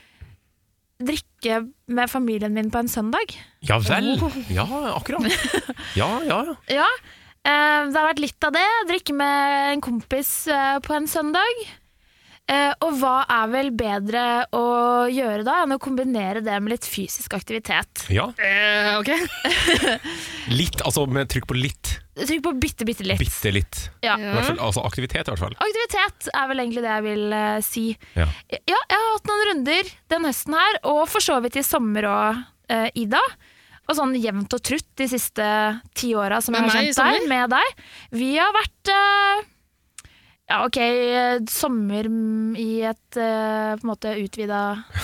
Drikke med familien min på en søndag.
Ja vel. Ja, akkurat. Ja, ja. ja.
Ja. eh, det har vært litt av det. Drikke med en kompis eh, på en søndag. Eh, og hva er vel bedre å gjøre da enn å kombinere det med litt fysisk aktivitet?
ja.
Eh, ok.
Litt, altså med trykk på litt.
Trykk på bitte, bitte litt.
Bitte litt.
Ja.
I hvert fall, altså aktivitet, i hvert fall.
Aktivitet er vel egentlig det jeg vil eh, si.
Ja.
Ja, jeg har hatt noen runder den høsten her, og for så vidt i sommer og eh, Ida. Og sånn jevnt og trutt de siste ti åra som
Med
jeg har
meg i
kjent
sommer?
deg. Med deg. Vi har vært eh, ja, ok, eh, sommer mm, i et eh, på en måte utvida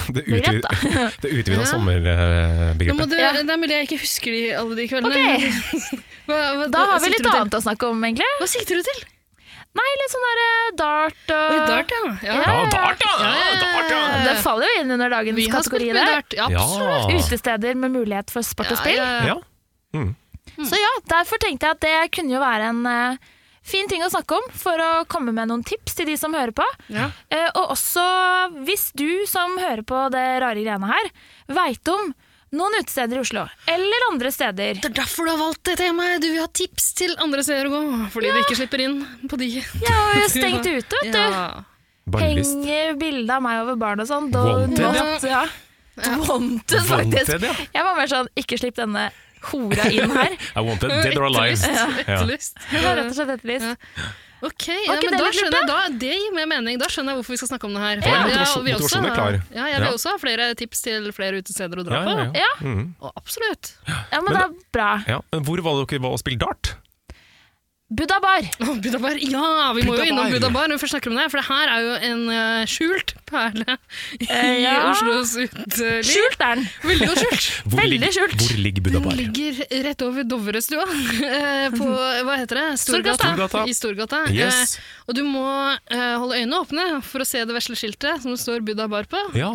Det
Begrep,
utvid- det utvida sommerbegrepet.
Nå må du,
Ja.
Det er mulig jeg ikke husker de, alle de kveldene.
Ok,
Hva, hva,
da har
hva
vi
sikter
litt
du til?
annet å snakke om, egentlig.
Hva sikter du til?
Nei, litt sånn der eh, dart og
Oi, dart, ja. ja.
Ja, dart, ja!
Ja.
Dart, ja.
Det faller jo inn under
Vi
dagens
har spilt
kategori,
mye
det.
dart. Ja, absolutt.
Ja.
Utesteder med mulighet for sport og spill.
Ja, ja, ja.
Ja.
Så ja, derfor tenkte jeg at det kunne jo være en eh, fin ting å snakke om for å komme med noen tips til de som hører på.
Ja.
Eh, og også hvis du som hører på det rare greiene her, veit om noen utesteder i Oslo, eller andre steder.
Det er derfor du har valgt det temaet. Du vil ha tips til andre steder å gå. Fordi du ikke slipper inn på de.
Jeg har jo stengt ute, vet du.
Ja.
Bannlyst.
Henger bilde av meg over baren og sånn.
Wanted, ja.
not- ja. Wanted, faktisk.
Wanted, ja.
Jeg var mer sånn, ikke slipp denne hora inn her.
I wanted dead or alive.
Etterlyst.
Ja.
Etterlyst.
Hun var rett og slett etterlyst.
Ok, ja,
ikke
men
det litt
da
lurt,
skjønner jeg, da, det gir mer mening. Da skjønner jeg hvorfor vi skal snakke om det her.
Ja,
Jeg
motivasjon-
vil også
motivasjonen er
ha-
klar.
Ja, jeg vil
Ja.
også ha flere tips til flere utesteder å dra
Ja,
på.
ja, ja.
Ja,
Mm.
Og absolutt.
ja, men,
Men
det er bra.
ja. Men hvor var dere var og spilte dart?
Buddha bar.
Å, Buddha Bar. Ja, vi må
Buddha
jo innom
Bar.
Buddha Bar når vi først snakker om det, her, for det her er jo en eh, skjult perle i
Eh, ja.
Oslos uteliv.
Skjult er den.
Veldig godt skjult.
Hvor
Veldig
ligger,
skjult.
Hvor ligger Buddha
Den
Bar?
ligger rett over Dovrestua, eh, på hva heter det? Storgata.
Storgata.
I Storgata.
Yes.
Eh, og du må eh, holde øynene åpne for å se det vesle skiltet som det står Buddha Bar på.
Ja.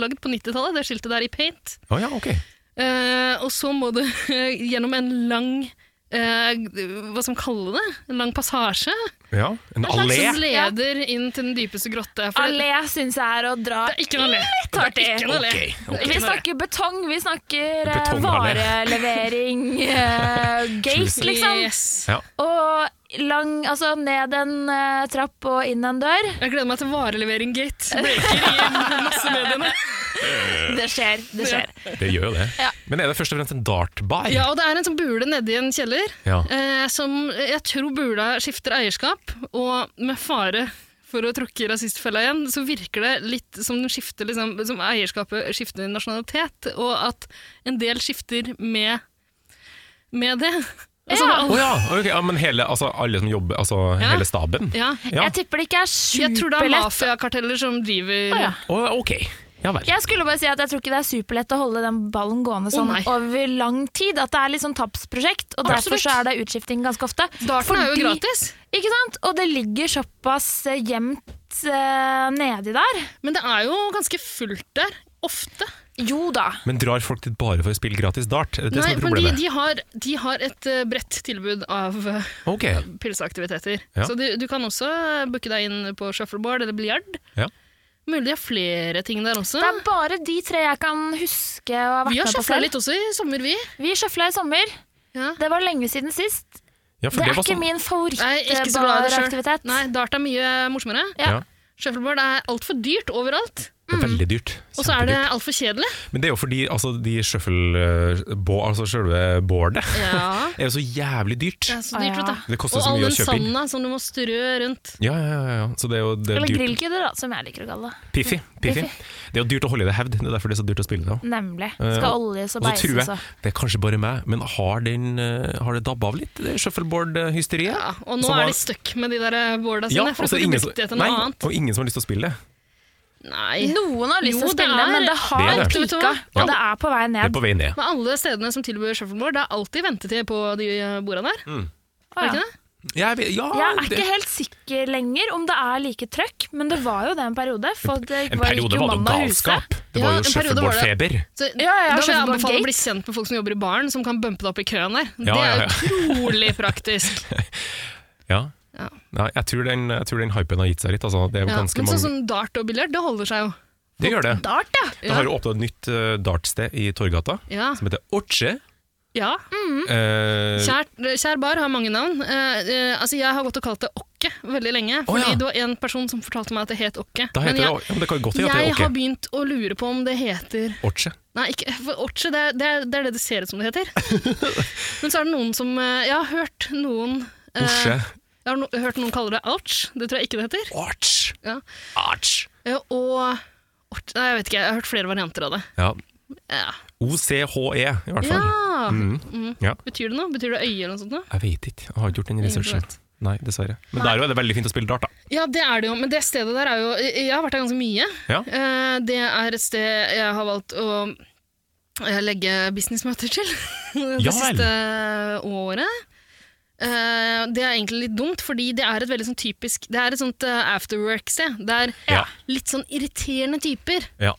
Laget på 90-tallet, det skiltet der i paint.
Å ja, ok.
Eh, og så må du gjennom en lang eh, hva skal man kalle det? En lang passasje
Ja. En allé.
som leder inn til den dypeste grotte. For det,
Allé syns jeg er å dra
det er ikke en allé.
litt hardt i.
ikke en allé.
Ok, ok.
Vi snakker betong, vi snakker eh,
Betongallé.
varelevering, eh, gate, liksom.
Yes.
Ja.
Og lang, altså ned en eh, trapp og inn en dør.
Jeg gleder meg til varelevering gate. Breaker i massemediene.
Det skjer, det skjer.
Det gjør jo det. Men er det først og fremst en dartbar?
Ja, og det er en sånn bule nedi en kjeller,
Ja.
eh, som jeg tror bula skifter eierskap, og med fare for å tråkke i rasistfella igjen, så virker det litt som, den skifter, liksom, som eierskapet skifter nasjonalitet, og at en del skifter med, med det. Altså,
Ja.
Å
alle-
ja, ok. ja, men hele, altså, alle som jobber, altså
Ja.
hele staben?
ja.
Ja.
Jeg tipper det ikke er
Jeg tror det er
superlett.
mafiakarteller som driver
Å, ja.
Å, ok, ja vel.
Jeg skulle bare si at jeg tror ikke det er superlett å holde den ballen gående sånn
nei.
over lang tid. At det er litt sånn tapsprosjekt, og derfor
Absolutt.
så er det utskifting ganske ofte.
Darten er jo
Fordi-
gratis.
Ikke sant? Og det ligger såpass eh, gjemt eh, nedi der.
Men det er jo ganske fullt der, ofte.
Jo da.
Men drar folk dit bare for å spille gratis dart? Er det det
Nei,
som er
fordi
problemet?
de har, de har et eh, bredt tilbud av eh,
Ok,
pilseaktiviteter.
Ja.
Så du, du kan også booke deg inn på shuffleboard eller biljard.
Ja.
Mulig det er flere ting der også.
Det er bare de tre jeg kan huske å ha vært
Vi har
med på
sjafla
selv.
litt også i sommer, vi.
Vi sjøfla i sommer.
Ja.
Det var lenge siden sist.
Ja, for
det, er
det, var
ikke
sånn.
min
Nei, ikke så glad i det selv.
favorittbaraktivitet.
Nei, dart er mye morsommere.
Ja.
Ja.
Shuffleboard er altfor dyrt overalt,
Det er veldig dyrt.
og så er det
Kjempedyrt.
altfor kjedelig.
Men det er jo fordi altså, de shuffle, eh, bo, altså selve boardet
Ja.
er jo så jævlig dyrt.
Det er så
Å,
dyrt,
ja.
vet du.
Det koster
Og
så
all
mye
den
å kjøpe inn.
sanda som du må strø rundt.
Ja, ja, ja, ja. Så det er jo det er
Eller
dyrt.
grillkudder, da, som jeg liker å kalle det.
Piffi. Piffi. Det er jo dyrt å holde det i hevd, det er derfor det er så dyrt å spille det. også.
Nemlig.
Eh,
Skal oljes og
Og så tror
beises
jeg,
og
det er kanskje bare meg, men har, den, eh, har det dabba av litt, det shuffleboard-hysteriet?
Ja, og nå
Som var-
er de stuck med de der boarda sine, for
og så
de
er
får
ingen
ikke
som-
brukt det til
nei,
noe annet.
og ingen som har lyst til å spille det.
Nei.
Noen har lyst til
Jo,
å
det
spille,
er-
men det har
Det er det.
Vet du
pika,
hva?
Ja.
og det er på vei
Det er
ned.
på vei ned.
Men alle stedene som tilbyr shuffleboard, det er alltid ventetid på de eh, bordene der.
Å,
Er det
ja.
ikke det?
Jeg, vet- ja,
Jeg er ikke
det,
helt sikker lenger om det er like trøkk, men det var jo det en periode. For det
en
var, gikk
periode
jo
var det jo
mann av huset.
galskap. Det var jo
Ja, en periode var det.
shuffleboard-feber.
Ja,
Så,
ja,
da liksom vil jeg
shuffleboard
anbefale å bli
gate.
kjent med folk som jobber i baren, som kan bumpe deg opp i køen der.
Ja,
det
ja,
er
ja.
utrolig praktisk.
Ja.
Ja.
Nei, jeg, tror den, jeg tror den hypen har gitt seg litt. Altså. Det, er
Ja, men
ganske
sånn
mange,
som dart og biljard, det holder seg jo.
det gjør det.
Dart, ja.
Det har jo åpna et nytt eh, dartsted i Torgata,
Ja.
som heter Orche.
ja.
Eh,
Kjær, kjær bar har mange navn. Eh, eh, altså jeg har gått og kalt det Okke veldig lenge. Fordi
ja.
det var en person som fortalte meg at det het Okke.
da heter
Men
det, ja, men det kan jo godt
jeg,
hende at det
jeg
er
har
Orche.
begynt å lure på om det heter
Orche.
Nei, ikke, for Orche, det, er- det, er- det er det det ser ut som det heter. Men så er det noen som eh, Jeg har hørt noen eh,
Orche.
Jeg har no, hørt noen kalle det ouch. Det tror jeg ikke det heter.
Orch.
Ja.
Orch.
Eh, og Orch- Nei, jeg vet ikke. Jeg har hørt flere varianter av det.
Ja.
Ja.
OCHE, E, i hvert fall.
ja.
Mm. Ja.
Betyr det noe? Betyr det øye eller noe sånt? Da?
Jeg vet ikke, jeg har ikke gjort den
Ingen
researchen.
vet.
Nei, dessverre. Men der òg er det veldig fint å spille dart, da.
Ja, det er det jo. Men det stedet der er jo Jeg har vært der ganske mye.
Ja.
Eh, Det er et sted jeg har valgt å eh, legge businessmøter til det
Ja vel.
siste året. Eh, Det er egentlig litt dumt, fordi det er et veldig sånn typisk Det er et sånt eh, afterwork-sted. Der
Ja.
litt sånn irriterende typer
Ja.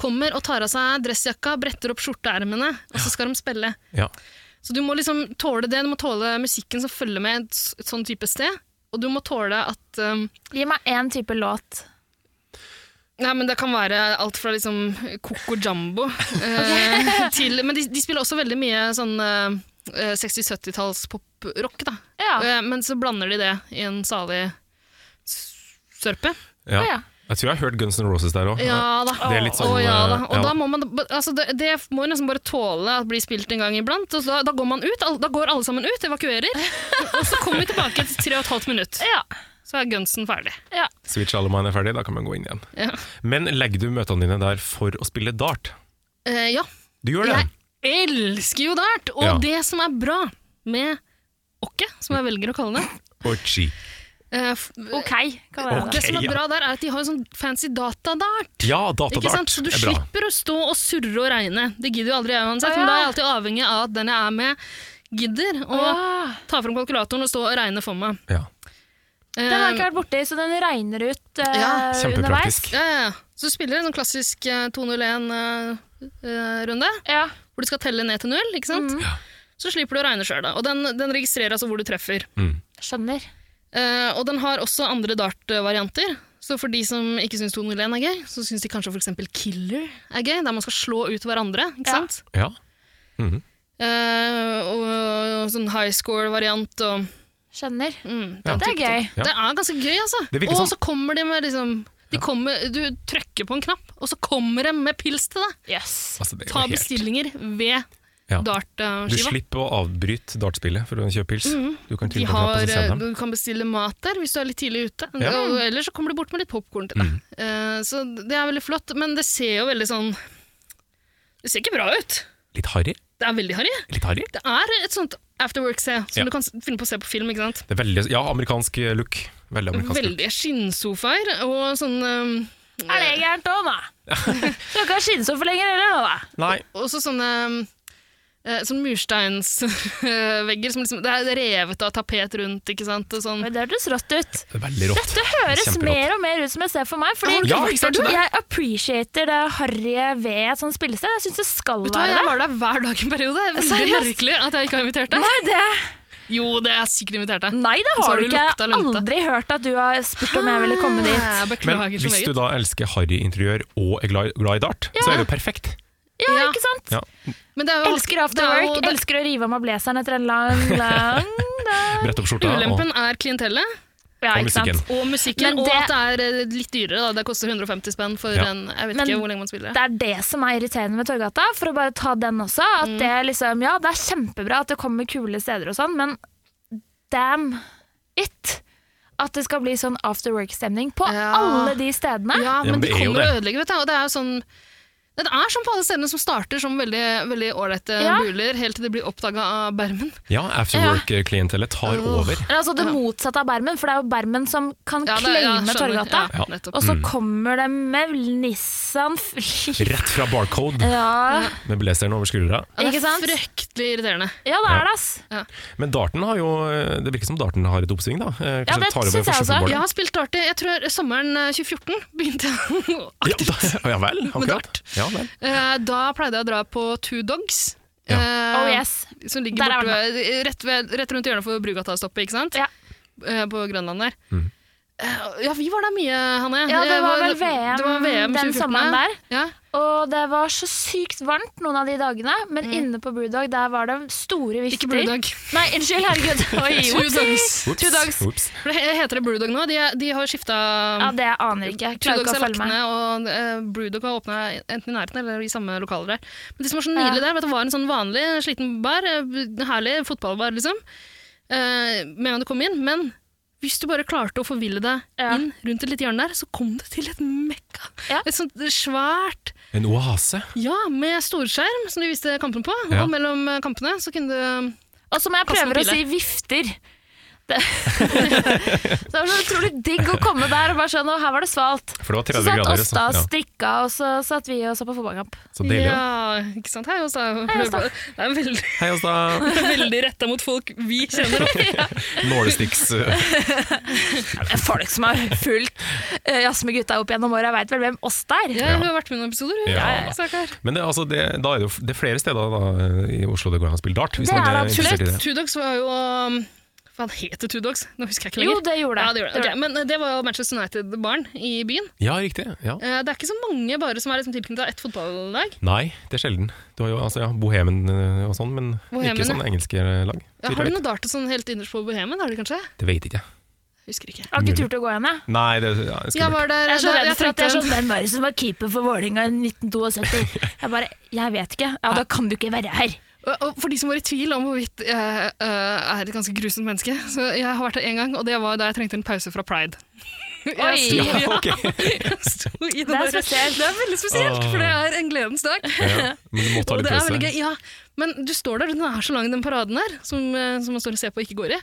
kommer og tar av seg dressjakka, bretter opp skjorteermene, og så skal de spille.
Ja.
Så du må liksom tåle det. Du må tåle musikken som følger med et s- et sånn type sted. Og du må tåle at eh,
Gi meg én type låt.
Nei, men Det kan være alt fra liksom Coco Jumbo eh, til Men de, de spiller også veldig mye sånn eh, 60-70-talls poprock, da.
Ja.
Eh, men så blander de det i en salig s- sørpe.
Å,
ja.
ja.
Jeg tror jeg har hørt Guns N' Roses der òg.
Ja da.
Det er litt sånn,
Å, ja, da. Og
eh, ja.
da må man, altså, det, det må jo nesten bare tåle at blir spilt en gang iblant. Og så, da, da går man ut, al- da går alle sammen ut, evakuerer. og så kommer vi tilbake etter tre og et halvt minutt.
Ja.
Så er gunsen ferdig.
Switch alle mine er ferdig, da kan man gå inn igjen.
Ja.
Men legger du møtene dine der for å spille dart?
Eh, ja.
Du gjør det?
Jeg elsker jo dart! Og
Ja.
det som er bra med åkke, som jeg velger å kalle det
Orchi.
eh, f-
OK, kan være
Ok.
det.
Det som er
ja.
bra der, er at de har en sånn fancy datadart.
Ja,
Ikke sant?
datadart
Så du
er bra.
slipper å stå og surre og regne. Det gidder jo aldri jeg uansett,
Å,
men da er
ja.
jeg alltid avhengig av at den jeg er med, gidder å
Åh,
ta fram kalkulatoren og stå og regne for meg.
Ja.
Eh,
Den har jeg ikke vært borti, så den regner ut eh,
Ja.
underveis.
Kjempepraktisk.
Eh, ja, ja, ja. Så du spiller en sånn klassisk 201-runde,
Ja.
eh, hvor du skal telle ned til null. ikke
Mm.
sant? Så slipper du å regne sjøl, da. Og den, den registrerer altså hvor du treffer.
Skjønner.
Eh, og den har også andre dart-varianter. Så for de som ikke syns 201 er gøy, så syns de kanskje f.eks. Killer er gøy, der man skal slå ut hverandre. ikke
Ja.
sant?
Ja.
Eh, og, og sånn high score-variant og
Skjønner.
mm, den
Det
Ja.
er
type ting.
gøy.
Ja.
Det er ganske gøy, altså.
Det virker sånn.
Og
som-
så kommer de med liksom de kommer, Du trykker på en knapp, og så kommer de med pils til deg!
Yes.
Altså, det er jo
Ta
helt-
bestillinger ved
Ja. Du
dart-skiva.
slipper å avbryte dartspillet for å kjøpe pils.
Mm.
Du kan
De
trykke på knappen
har,
og sende dem.
du kan bestille mat der hvis du er litt tidlig ute.
Ja. Mm.
Og ellers så kommer de bort med litt popkorn til deg. Eh, så det er veldig flott, men det ser jo veldig sånn Det ser ikke bra ut.
eh,
Litt harry.
Det er veldig harry.
Litt harry.
Det er et sånt afterwork-se som
Ja.
du kan s- finne på å se på film. ikke sant?
Det er veldig, ja, amerikansk eh, look. Veldig amerikansk look.
Veldige skinnsofaer og sånn eh,
Er det gærent òg, da? Du har ikke hatt skinnsoffa lenger heller, nå, da?
Nei.
Også sånne eh, Sånn mursteinsvegger som liksom, det er revet av tapet rundt, ikke sant? Og sånn.
Oi, Det hørtes rått ut.
Det er veldig rått.
Det høres
Kjemperått.
mer og mer ut som et sted for meg. Fordi
Ja, ikke sant?
jeg appreciater det harrye ved et sånt spillested. Jeg syns det skal
Vet du hva,
være
Jeg
det.
var der hver dag en periode. Det er Veldig
Seriøst?
merkelig at jeg ikke har invitert deg.
Nei, det.
Jo, det er sikkert invitert deg.
Nei, det
Så
har
har
du
du
ikke. Jeg
lukta
har
lunta.
aldri hørt at du har spurt om jeg ville komme dit.
Ah, Jeg
Men
beklager så
hvis
meget.
du da elsker harryinteriør og er glad, glad i dart, så er det jo perfekt.
Ja,
Ja.
ikke sant?
Ja.
Men det er jo-
Elsker after
det er jo-
work,
det-
elsker å rive av meg blazeren etter en lang, lang dag.
Brett opp skjorta og
Ulempen er klientellet
Ja,
Og
ikke sant?
musikken.
og musikken,
Men
og
det-
at det er eh, litt dyrere. Da. Det koster 150 spenn for
Ja.
en Jeg vet
Men
ikke hvor lenge man spiller.
Det er det som er irriterende med Torgata, for å bare ta den også. At
Mm.
det er liksom, ja, det er kjempebra at det kommer kule steder og sånn, men damn it! At det skal bli sånn after work-stemning på
Ja.
alle de stedene.
Ja,
men
men de
det er jo
kommer og
det.
ødelegger, vet du. Og det er jo sånn Nei, det er sånn på alle stedene som starter som veldig veldig ålreite
Ja.
buler, helt til de blir oppdaga av bermen.
Ja, afterwork-klientellet tar over.
Eller altså det motsatte av bermen, for det er jo bermen som kan
Ja, det- ja,
claime
skjønner.
Torgata.
Ja. Mm.
Ja, nettopp.
Og så kommer det med Nissan Fly-
Rett fra barcode
Ja,
med blazeren over skuldra.
Ja, det
Ikke sant?
er fryktelig irriterende.
ja det er det, ass.
Men darten har jo eh, Det virker som darten har et oppsving, da. Eh,
Ja,
kanskje
det
tar over
synes jeg
første
også.
footballen.
Jeg har spilt darty. Jeg tror sommeren eh, 2014 begynte jeg å-
Ja, da, ja vel, akkurat.
dart.
Ja, vel.
Eh, Da pleide jeg å dra på Two Dogs.
Ja.
eh,
Oh yes.
Som ligger
Der er
borte ved, rett, ved, rett rundt hjørnet for Brugata-stoppet, ikke sant?
Ja.
Eh, På Grønland der.
Mm.
Eh, Ja, vi var der mye, Hanne.
Ja, det
Eh,
var vel
det var VM
VM den
2014,
sommeren der.
Ja.
Og det var så sykt varmt noen av de dagene, men inne på Brewdog der var det store vifter.
Mm. Ikke Brewdog.
Nei, unnskyld, herregud. Oi,
Two
whoopsie.
Dogs.
Ups,
Two dogs.
ups.
For det heter det Brewdog nå? De, er- de har skifta
Ja, det aner jeg ikke. Jeg
Two
klarer
Dogs
ikke
er
å
lagt
følge med.
ned, og eh, Brewdog har åpna enten i nærheten eller i samme lokaler der. Men det som var så
Ja.
nydelig der, var at det var en sånn vanlig sliten bar. eh, En herlig fotballbar, liksom. Eh, med en gang du kom inn. Men hvis du bare klarte å forville deg
Ja.
inn rundt et lite hjørne der, så kom du til et mekka.
Ja.
Et sånt svært
En oase.
Ja, med storskjerm, som de viste kampene på.
Ja.
Og mellom eh, kampene så kunne du
Og som jeg
Kaste noen
prøver å si vifter. Det, det var så utrolig digg å komme der og bare sånn, og her var det svalt.
For det var
Så
30
satt
grader.
oss da
Så,
og
ja.
strikka, og så satt vi og så på fotballkamp.
så deilig. Ja.
Ja, ikke sant. Hei, Åsta.
Hei, Åsta.
Det er veldig,
Hei, oss da.
veldig retta mot folk vi kjenner.
Nålesticks. eh,
Folk som har fulgt uh, Jazz med gutta opp gjennom åra, veit vel hvem oss der.
Ja, du har vært med i noen episoder. du.
Ja, da.
Stakkar.
Men det, er altså, det, da er det, jo f- det er flere steder da, i Oslo det går an å spille dart. Hvis
Det
man
er
er
det
interessert i det.
Two Dogs var jo um, Hva het det, Two Dogs? Nå husker jeg ikke lenger.
Jo, det gjorde det.
ja, det gjorde det. Ok, Men eh, det var jo Manchester United-barn i byen.
Ja, riktig. Ja.
Eh, Det er ikke så mange bare som er liksom tilknyttet ett fotballag.
Nei, det er sjelden. Du har jo altså, ja, Bohemen eh, og sånn, men
Bohemen,
ikke
ja.
sånn engelske lag.
Ja, har de noe dart sånn helt innerst på Bohemen? Har de kanskje?
Det vet ikke jeg.
Husker ikke.
Jeg har ikke turt å gå igjen, jeg.
Nei, det ja,
Jeg
skummelt.
var der
Jeg er så
da-
redd for at det er
tenkte-
sånn Hvem var det som var keeper for Vålerenga i 1972? Jeg bare Jeg vet ikke. Ja, da kan du ikke være her.
Og- og For de som var i tvil om hvorvidt jeg eh, er et ganske grusomt menneske, så jeg har vært der én gang, og det var da jeg trengte en pause fra pride.
Oi!
Jeg sto-
Ja, ok.
jeg sto i
Det er
der-
spesielt.
Det er veldig spesielt, for det er en gledens dag.
Ja, men du må ta
Og
litt
det er veldig
pause.
gøy, ja. Men du står der, den er så lang den paraden her, som, eh, som man står og ser på og ikke går i.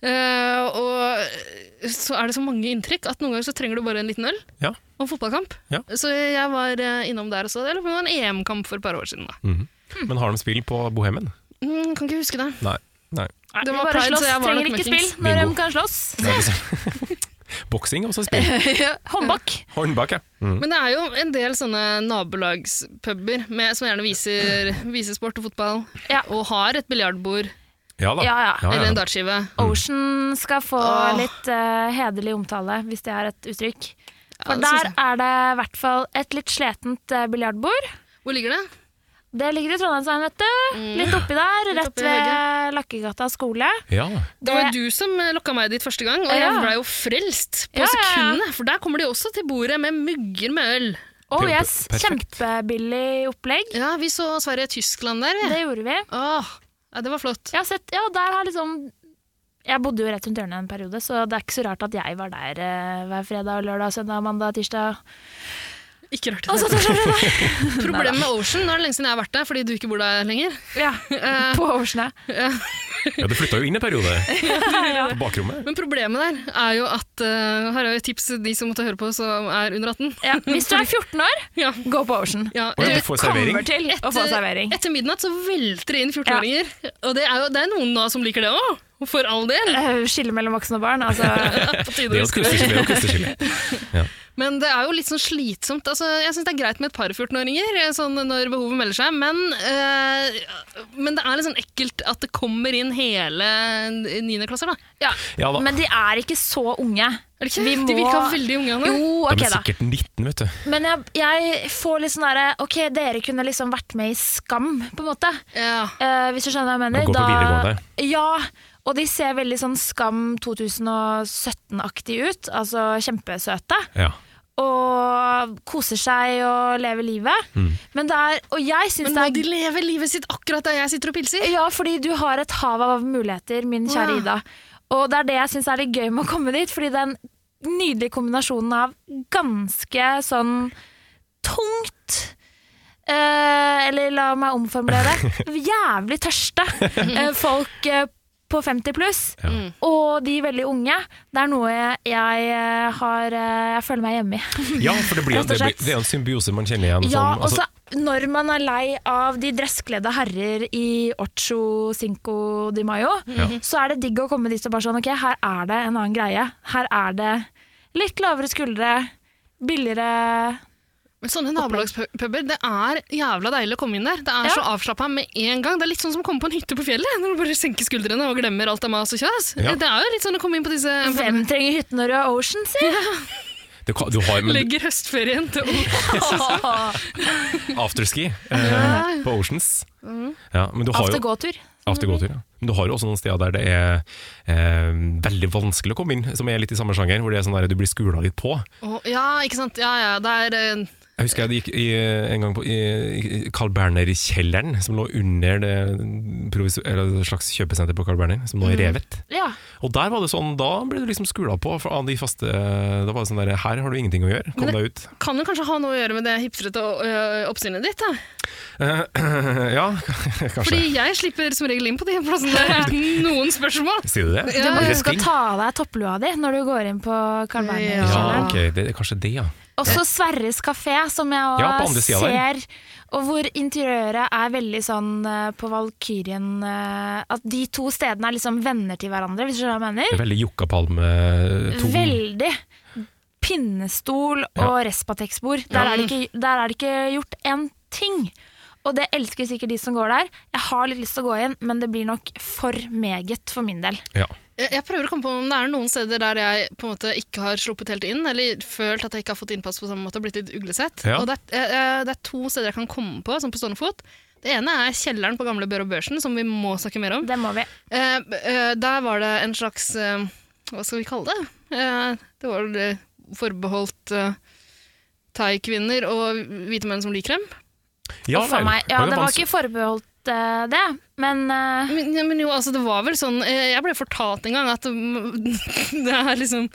Eh, og så er det så mange inntrykk at noen ganger så trenger du bare en liten øl
Ja.
og fotballkamp.
Ja.
Så jeg var eh, innom der også, eller det var en EM-kamp for et par år siden da.
Mhm. Men har de spill på Bohemen?
Mm, kan ikke huske det.
Nei. Nei.
Det
Vi
var
bare
pride,
slåss.
så jeg var
Trenger
nok
ikke
møkings.
spill når de
Bingo.
kan slåss.
Boksing er også spill.
Håndbak.
Håndbak, ja. Mhm.
Men det er jo en del sånne nabolagspuber med, som gjerne viser, viser sport og fotball,
Ja.
og har et biljardbord
Ja da.
Ja, ja.
eller en dartskive.
Mm. Ocean skal få
Åh.
litt eh, hederlig omtale, hvis det er et uttrykk.
Ja, sånn.
For
det synes
der
jeg.
er det i hvert fall et litt sletent eh, biljardbord.
Hvor ligger det?
Det ligger i Trondheimsveien, vet du. Mm. Litt oppi der,
Litt
rett
oppi
ved Lakkegata skole.
Ja.
Det var jo du som eh, lokka meg dit første gang, og
Ja.
jeg blei jo frelst på
Ja, ja, ja.
sekundene. For der kommer de også til bordet med mugger med øl.
Oh
Kjempe-
yes,
perfekt.
kjempebillig opplegg.
Ja, vi så Sverige-Tyskland der, vi.
Det gjorde vi.
Åh, ja, det var flott.
Jeg har sett, ja, der har liksom Jeg bodde jo rett rundt hjørnet en periode, så det er ikke så rart at jeg var der eh, hver fredag, lørdag, søndag, mandag, tirsdag.
Ikke rart.
Altså, det skjønner du.
Problemet med Ocean, nå er det lenge siden jeg har vært der, fordi du ikke bor der lenger.
Ja,
Eh,
på Åsne.
ja, du flytta jo inn en periode. På bakrommet.
men problemet der er jo at eh, Her er jo et tips til de som måtte høre på som er under 18.
Ja, hvis du er 14 år,
Ja.
gå på eh, Ocean.
Ja,
Å ja,
eh,
du får servering?
Kommer til å få servering.
Etter midnatt så velter det inn 14-åringer. Og det er jo det er noen da som liker det òg, for all del.
Eh, Skille mellom voksne og barn, altså.
På tide å
Det er jo et
huske det.
kunstnerskille.
Men det er jo litt sånn slitsomt. Altså, jeg syns det er greit med et par 14-åringer eh, sånn, når behovet melder seg, men, eh, men det er litt sånn ekkelt at det kommer inn hele niendeklasser, da.
Ja,
Ja da.
Men de er ikke så unge.
Er det ikke?
Vi må-
De virka veldig unge, Anne.
Jo, ok
de er
da.
sikkert 19, vet du.
Men jeg, jeg får litt sånn derre Ok, dere kunne liksom vært med i Skam, på en måte.
Ja.
Eh, hvis du skjønner hva jeg mener.
Og går på videregående.
Ja, og de ser veldig sånn Skam 2017-aktig ut. Altså kjempesøte.
Ja.
Og koser seg og lever livet.
Mm.
Men det er Og jeg syns
Men
det
må
er
de leve livet sitt akkurat der jeg sitter og pilser?
Ja, fordi du har et hav av muligheter, min kjære
Ja.
Ida. Og det er det jeg syns er litt gøy med å komme dit, fordi den nydelige kombinasjonen av ganske sånn tungt eh, Eller la meg omformulere jævlig tørste eh, folk eh, på 50 pluss, og de veldig unge. Det er noe jeg, jeg eh, har eh, Jeg føler meg hjemme i.
ja, for det, blir,
Rett og
det, blir,
slett.
det er en symbiose man kjenner igjen.
Ja,
som,
og
altså,
så når man er lei av de dresskledde herrer i Ocho Cinco de Mayo, så er det digg å komme dit og bare sånn Ok, her er det en annen greie. Her er det litt lavere skuldre, billigere
Men sånne nabolagspuber, det er jævla deilig å komme inn der. Det er
Ja.
så avslappa med en gang. Det er litt sånn som å komme på en hytte på fjellet, når du bare senker skuldrene og glemmer alt av mas og kjas.
Ja.
Det er jo litt sånn å komme inn på disse
Hvem trenger hytten når du har Ocean, si?
du, kan- du har, men,
Legger høstferien til
afterski eh, på Oceans. Ja, men du har
Mm.
jo,
Aftergåtur.
aftergåtur, ja. Men du har jo også noen steder der det er eh, veldig vanskelig å komme inn, som er litt i samme sjanger, hvor det er sånn der, du blir skula litt på.
Å, ja, ikke sant. Ja, ja, det er eh,
Jeg husker jeg gikk i, en gang på i, i Carl Berner-kjelleren, som lå under det, provisu- eller et slags kjøpesenter på Carl Berner, som nå
Mm.
er revet.
Ja.
Og der var det sånn, da ble du liksom skula på for, av de faste Da var det sånn der, her har du ingenting å gjøre, kom
Men
deg ut.
kan jo kanskje ha noe å gjøre med det hipstrete øh, oppsynet ditt. Da.
Eh, ja, kanskje.
Fordi jeg slipper som regel inn på de plassene der uten noen spørsmål.
Sier du det?
Du må
Er det
huske
sting?
å ta av deg topplua di når du går inn på Carl
Ja.
Ja,
Berner-kjelleren.
ok, det er kanskje det, ja.
Og så Sverres kafé, som jeg også
Ja, på andre siden der.
ser. Og hvor interiøret er veldig sånn eh, på Valkyrien eh, At de to stedene er liksom venner til hverandre, hvis du skjønner hva jeg
Det
mener.
er veldig eh, Jokkapalme-tom.
Veldig. Pinnestol og Respatex-bord. Der, er det ikke- der er det ikke gjort en ting. Og det elsker sikkert de som går der. Jeg har litt lyst til å gå inn, men det blir nok for meget for min del.
Ja.
Jeg, jeg prøver å komme på om det er noen steder der jeg på en måte ikke har sluppet helt inn, eller følt at jeg ikke har fått innpass på samme måte og blitt litt uglesett.
Ja.
Og det, er, eh, eh, det er to steder jeg kan komme på, sånn på stående fot. Det ene er kjelleren på Gamle Bør og Børsen, som vi må snakke mer om.
Det må vi.
Eh, b- eh, der var det en slags eh, Hva skal vi kalle det? Eh, det var vel, eh, forbeholdt eh, thai-kvinner og hvite menn som liker dem.
Ja,
Uff a
vel.
meg. Ja,
det
det var
vanskelig.
ikke forbeholdt eh, det, men eh,
Men, ja, men jo, altså, det var vel sånn eh, Jeg ble fortalt en gang at mm, det er liksom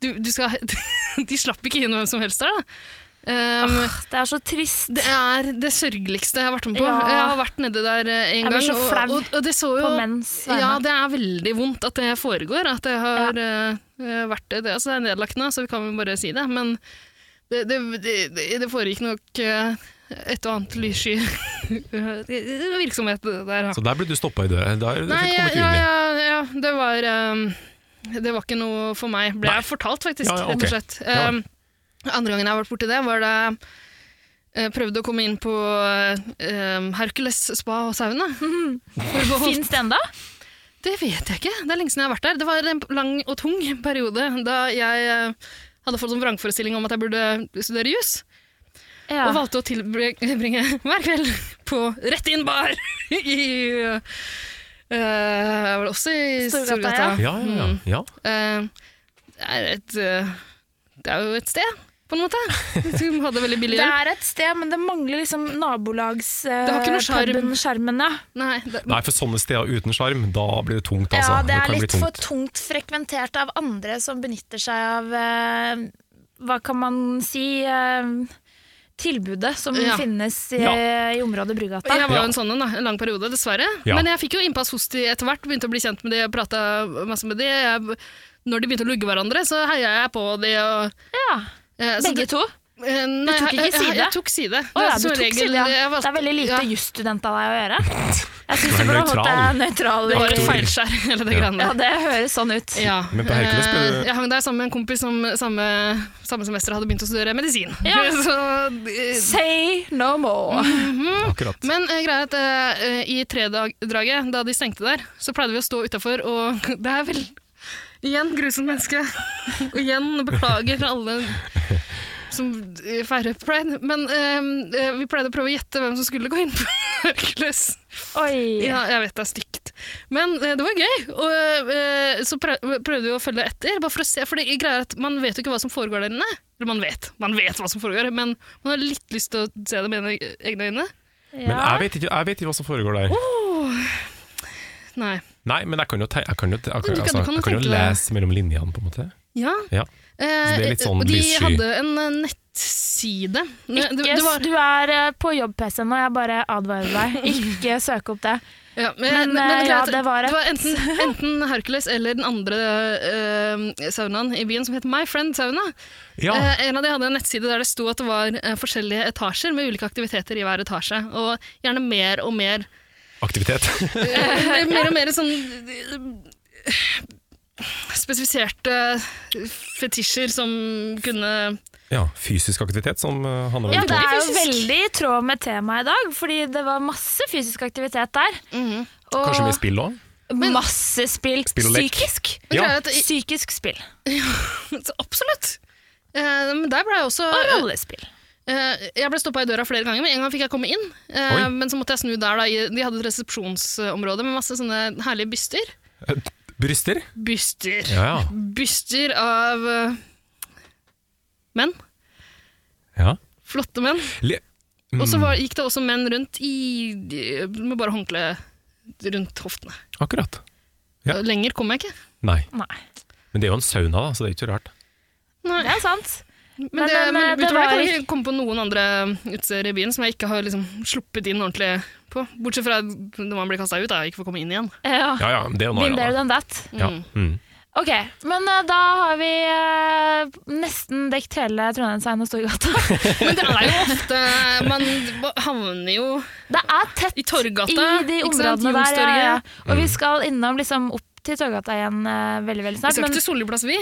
du, du skal, De slapp ikke inn hvem som helst der, da. Um,
det er så trist.
det er det sørgeligste jeg har vært med på.
Ah. Ja.
Jeg har vært nede der eh, en
Jeg blir
gang.
så flau
og, og, og det så jo,
på menns vegne.
Ja, det er veldig vondt at det foregår. At det har eh, vært det. Altså, det er nedlagtende, så vi kan jo bare si det. Men det, det, det, det foregikk nok eh, et og annet lyssky virksomhet der. da.
Så der ble du stoppa i døra? Der,
Nei, ja,
fikk du
ja,
komme til
ja, ja, det var ehm, Det var ikke noe for meg, ble
Nei.
jeg fortalt, faktisk.
Ja, ja,
rett
ok.
og slett.
Ja.
Ehm, andre gangen jeg har vært borti det, var da jeg prøvde å komme inn på ehm, Hercules spa og sauna. Forbeholdt-
Fins det ennå?
Det vet jeg ikke. Det er lenge siden jeg har vært der. Det var en lang og tung periode da jeg eh, hadde fått en vrangforestilling om at jeg burde studere jus, og valgte å tilbringe hver kveld på Rett inn bar i eh, eh, Var det også i
Storgata,
Storgata?
Ja, ja, ja.
Mm.
ja.
Eh, det, er et, eh, det er jo et sted, på en måte. Som hadde veldig billig
Det
hjelp.
er et sted, men det mangler liksom eh,
Det har ikke noe skjerm.
nabolagspubben-skjermen. ja.
Nei, det,
Nei, for sånne steder uten sjarm, da blir det tungt,
ja,
altså.
det
kan
er
bli
litt for tungt frekventert av andre som benytter seg av eh, Hva kan man si eh, Tilbudet som
Ja.
finnes i,
Ja.
i området Brugata.
Jeg var jo
Ja.
en sånn en, da, en lang periode, dessverre.
Ja.
Men jeg fikk jo innpass hos de etter hvert, begynte å bli kjent med de, prata masse med de. Jeg, når de begynte å lugge hverandre, så heia jeg på de. Og,
Ja,
eh, så
Begge
det,
to.
Eh, Nei,
tok ikke
jeg, jeg,
side?
jeg tok side.
Å ja,
Det er
du
som
tok
regel-
side, ja.
jeg valgte-
Det er veldig lite
ja,
jusstudent av deg å gjøre. Jeg syns
Du
du
er
burde holdt
nøytral.
deg nøytral.
Det var et
i-
Aktor.
feilskjær, hele det
Ja.
greiene
Ja,
der.
det høres sånn ut.
Ja.
Men på Hercules ble
Eh, Jeg hang der sammen med en kompis som samme, samme semester hadde begynt å studere medisin.
Ja.
Så, eh,
Say no more.
Akkurat.
men eh, greia er at eh, i tredraget, da de stengte der, så pleide vi å stå utafor, og det er vel Igjen grusomt menneske. Og igjen beklager alle som eh, feirer pride. Men eh, eh, vi pleide å prøve å gjette hvem som skulle gå inn på Hercules.
Oi.
Ja, jeg vet det er stygt. Men eh, det var gøy. Og eh, så prøv, prøvde vi å følge etter, bare for å se, for det greier at man vet jo ikke hva som foregår der inne. Eller man vet, man vet hva som foregår, men man har litt lyst til å se det med ene- egne øyne.
Men jeg vet, ikke, jeg vet ikke hva som foregår der.
Oh. Nei.
Nei, men jeg kan jo, te jeg kan jo, te jeg kan,
Men du kan-
altså,
du kan jo
jeg kan jo
tenke deg-
lese mellom linjene, på en måte.
Ja.
Ja.
Eh,
Så det er litt sånn
og de
lyssky.
hadde en eh, nettside. Nei,
Ikke,
det, det var,
Du er eh, på jobb-PC-en, og jeg bare advarer deg. Ikke søk opp det.
ja,
men, eh,
greia
ja,
er at
det var et-
det var enten, enten Hercules eller den andre eh, saunaen i byen som het My Friend Sauna.
Ja,
Eh, en av de hadde en nettside der det sto at det var eh, forskjellige etasjer med ulike aktiviteter i hver etasje, og gjerne mer og mer
aktivitet.
eh, Mer og mer sånn eh, Spesifiserte fetisjer som kunne
Ja, fysisk aktivitet som eh, handler om
Ja, det
motor.
er jo
fysisk.
veldig i tråd med temaet i dag, fordi det var masse fysisk aktivitet der. Og
Kanskje mye spill òg?
masse spill.
Spill og lek.
Psykisk.
Ja.
Greia er at-
Psykisk spill.
Så Absolutt! Eh, Men der ble jeg også
Og rollespill.
eh, Jeg ble stoppa i døra flere ganger, men en gang fikk jeg komme inn. eh,
Oi.
Men så måtte jeg snu der, da. i- De hadde et resepsjonsområde med masse sånne herlige byster.
Bryster?
Byster.
Ja,
Byster av eh, menn.
ja.
Flotte menn.
Le- Mm,
Og så var, gikk det også menn rundt i, med bare håndkle rundt hoftene.
Akkurat. Ja.
Lenger kom jeg ikke.
Nei.
Nei,
Men det er jo en sauna, da, så det er ikke så rart.
Nei.
det er sant.
Men,
Men,
det,
men,
men
eh, det
utover det kan
var-
jeg ikke komme på noen andre utesteder i byen som jeg ikke har liksom sluppet inn ordentlig på. Bortsett fra når man blir kasta ut, da. og Ikke får komme inn igjen.
Ja.
Ja, ja, det er jo noe
Been there
annet.
than that.
da. Ja. Mm.
Ok, men eh, da har vi eh, nesten dekt hele Trondheimsveien og Storgata.
Men det er jo ofte Man havner jo
Det er tett
I Torggata,
i de
ikke sant?
områdene der. Ja, ja.
Youngstorget.
Og
Mm.
vi skal innom liksom, opp til Torggata igjen eh, veldig, veldig
Vi
snart.
skal ikke
Men
til Solliplass, vi.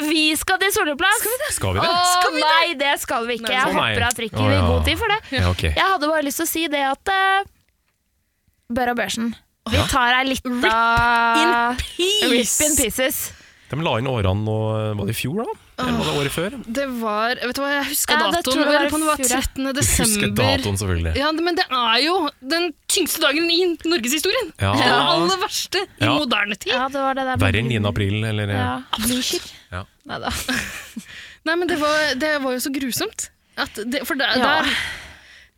vi skal til Solplass!
Skal vi
Å
det?
nei, det skal vi ikke.
Nei,
Jeg
å nei.
håper at Ricky
Å,
vil
ja.
god tid for det.
Ja, ok.
Jeg hadde bare lyst til å si det at eh, Børre og Børsen, vi tar ei lita Rip
Peace.
in pieces.
De la inn årene nå eh, Var det i fjor, da? Eller var det året før?
Det var Vet du hva, jeg husker
Ja, det tror
datoen.
jeg
Jeg
var
lurer på om det
i
var
fjor, ja.
13.
Du husker
desember.
datoen, selvfølgelig.
Ja, men det er jo den tyngste dagen i norgeshistorien.
Ja.
Det aller verste i
Ja.
moderne tid.
Ja, det var det der med-
Verre enn 9. april, eller eh,
Ja.
Ja.
Neida.
Nei, men det var, det var jo så grusomt. At det, for der,
Ja.
der,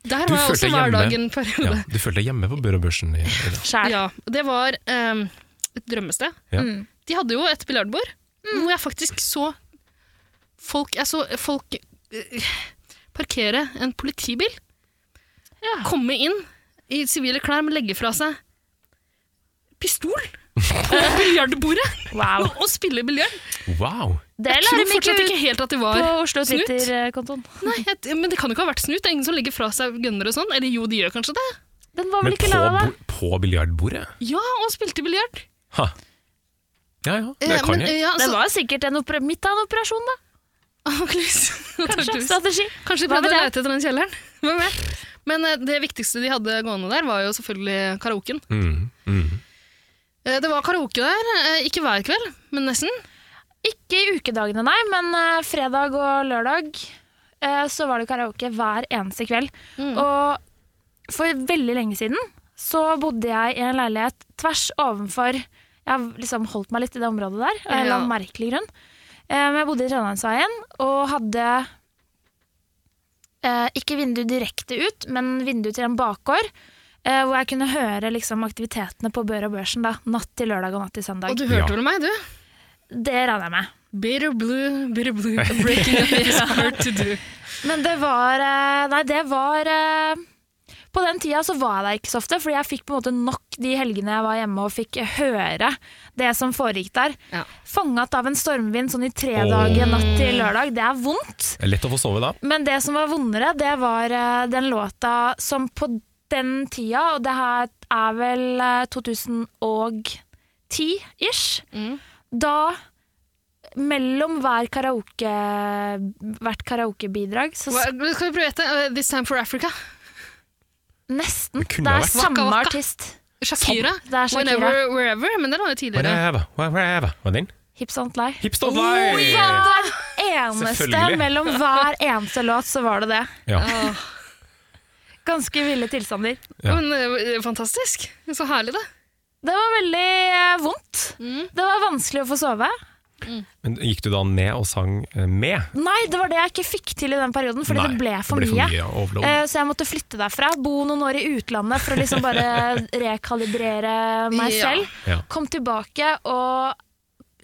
der
Du
var jeg
følte
også
deg
hver
hjemme.
dag en
ja.
periode.
Du følte deg hjemme på Børre og Børsen? I, i dag.
Skjær.
Ja, det var ehm, et drømmested.
Ja.
Mm.
De hadde jo et biljardbord hvor jeg faktisk så folk Jeg så folk eh, parkere en politibil,
Ja.
komme inn i sivile klær, men legge fra seg pistol på biljardbordet
Wow.
og, og spille biljard.
Wow!
Det
Jeg
la
tror
de ikke
fortsatt
ut
ikke helt at de
på
var
Oslo
snutt.
Twitter-kontoen.
Nei, jeg, men det kan jo ikke ha vært snut. Det er ingen som legger fra seg gønnere og sånn. Eller jo, de gjør kanskje det.
Den var
Men
vel
på,
ikke lava, da?
bo- på biljardbordet?
Ja, og spilte biljard.
Ha. Ja ja, det
Eh,
kan
men,
jeg.
eh, Ja,
Det
så,
var sikkert en opera, midt av en operasjon, da. Kanskje.
Kanskje.
Strategi.
Kanskje de
Hva
prøvde å
vet jeg?
lete etter den kjelleren. Hvem vet? Men eh, det viktigste de hadde gående der, var jo selvfølgelig karaoken.
Mm, mm.
Eh, Det var karaoke der, eh, ikke hver kveld, men nesten.
Ikke i ukedagene, nei, men eh, fredag og lørdag eh, så var det karaoke hver eneste kveld.
Mm.
Og for veldig lenge siden så bodde jeg i en leilighet tvers ovenfor Jeg har liksom holdt meg litt i det området der, av en eller annen
Ja.
merkelig grunn. Eh, Men jeg bodde i Trondheimsveien og hadde eh, ikke vindu direkte ut, men vindu til en bakgård. eh, hvor jeg kunne høre liksom, aktivitetene på Bør og Børsen da, natt til lørdag og natt til
Og
søndag.
du hørte
Ja.
vel meg, du?
Det regner jeg med.
Bitter blue, bitter blue, breaking up is hard to do.
Men det var eh, Nei, det var eh, På den tida så var jeg der ikke så ofte, fordi jeg fikk på en måte nok de helgene jeg var hjemme og fikk høre det som foregikk der.
Ja.
Fanget av en stormvind sånn i tre
Åh.
dager natt til lørdag, det er vondt.
Det er lett å få sove da.
Men det som var vondere, det var eh, den låta som på den tida, og det her er vel eh, 2010-ish,
Mm.
da mellom hver karaoke, hvert karaokebidrag, så
Hva, skal vi prøve å gjette? Eh, This Time for Africa.
s- nesten.
Det kunne
Det
ha
er
vært.
samme
Waka Waka.
artist.
Shakira.
Det er Shakira.
Whenever, wherever. Men den var jo tidligere.
Whatever, whatever. Hva er den?
Hips Don't Lie.
Hips don't lie!
Hver eneste,
Selvfølgelig.
mellom hver eneste låt, så var det det.
Ja.
Åh,
Ganske ville tilstander.
Ja.
Men eh, fantastisk. Så herlig, da.
Det var veldig eh, vondt.
Mm.
Det var vanskelig å få sove.
Men gikk du da ned og sang eh, med?
Nei, det var det jeg ikke fikk til i den perioden, fordi
Nei,
det ble for mye.
ja, overload.
Eh, Så jeg måtte flytte derfra, bo noen år i utlandet for å liksom bare rekalibrere meg
Ja.
selv.
Ja.
Kom tilbake og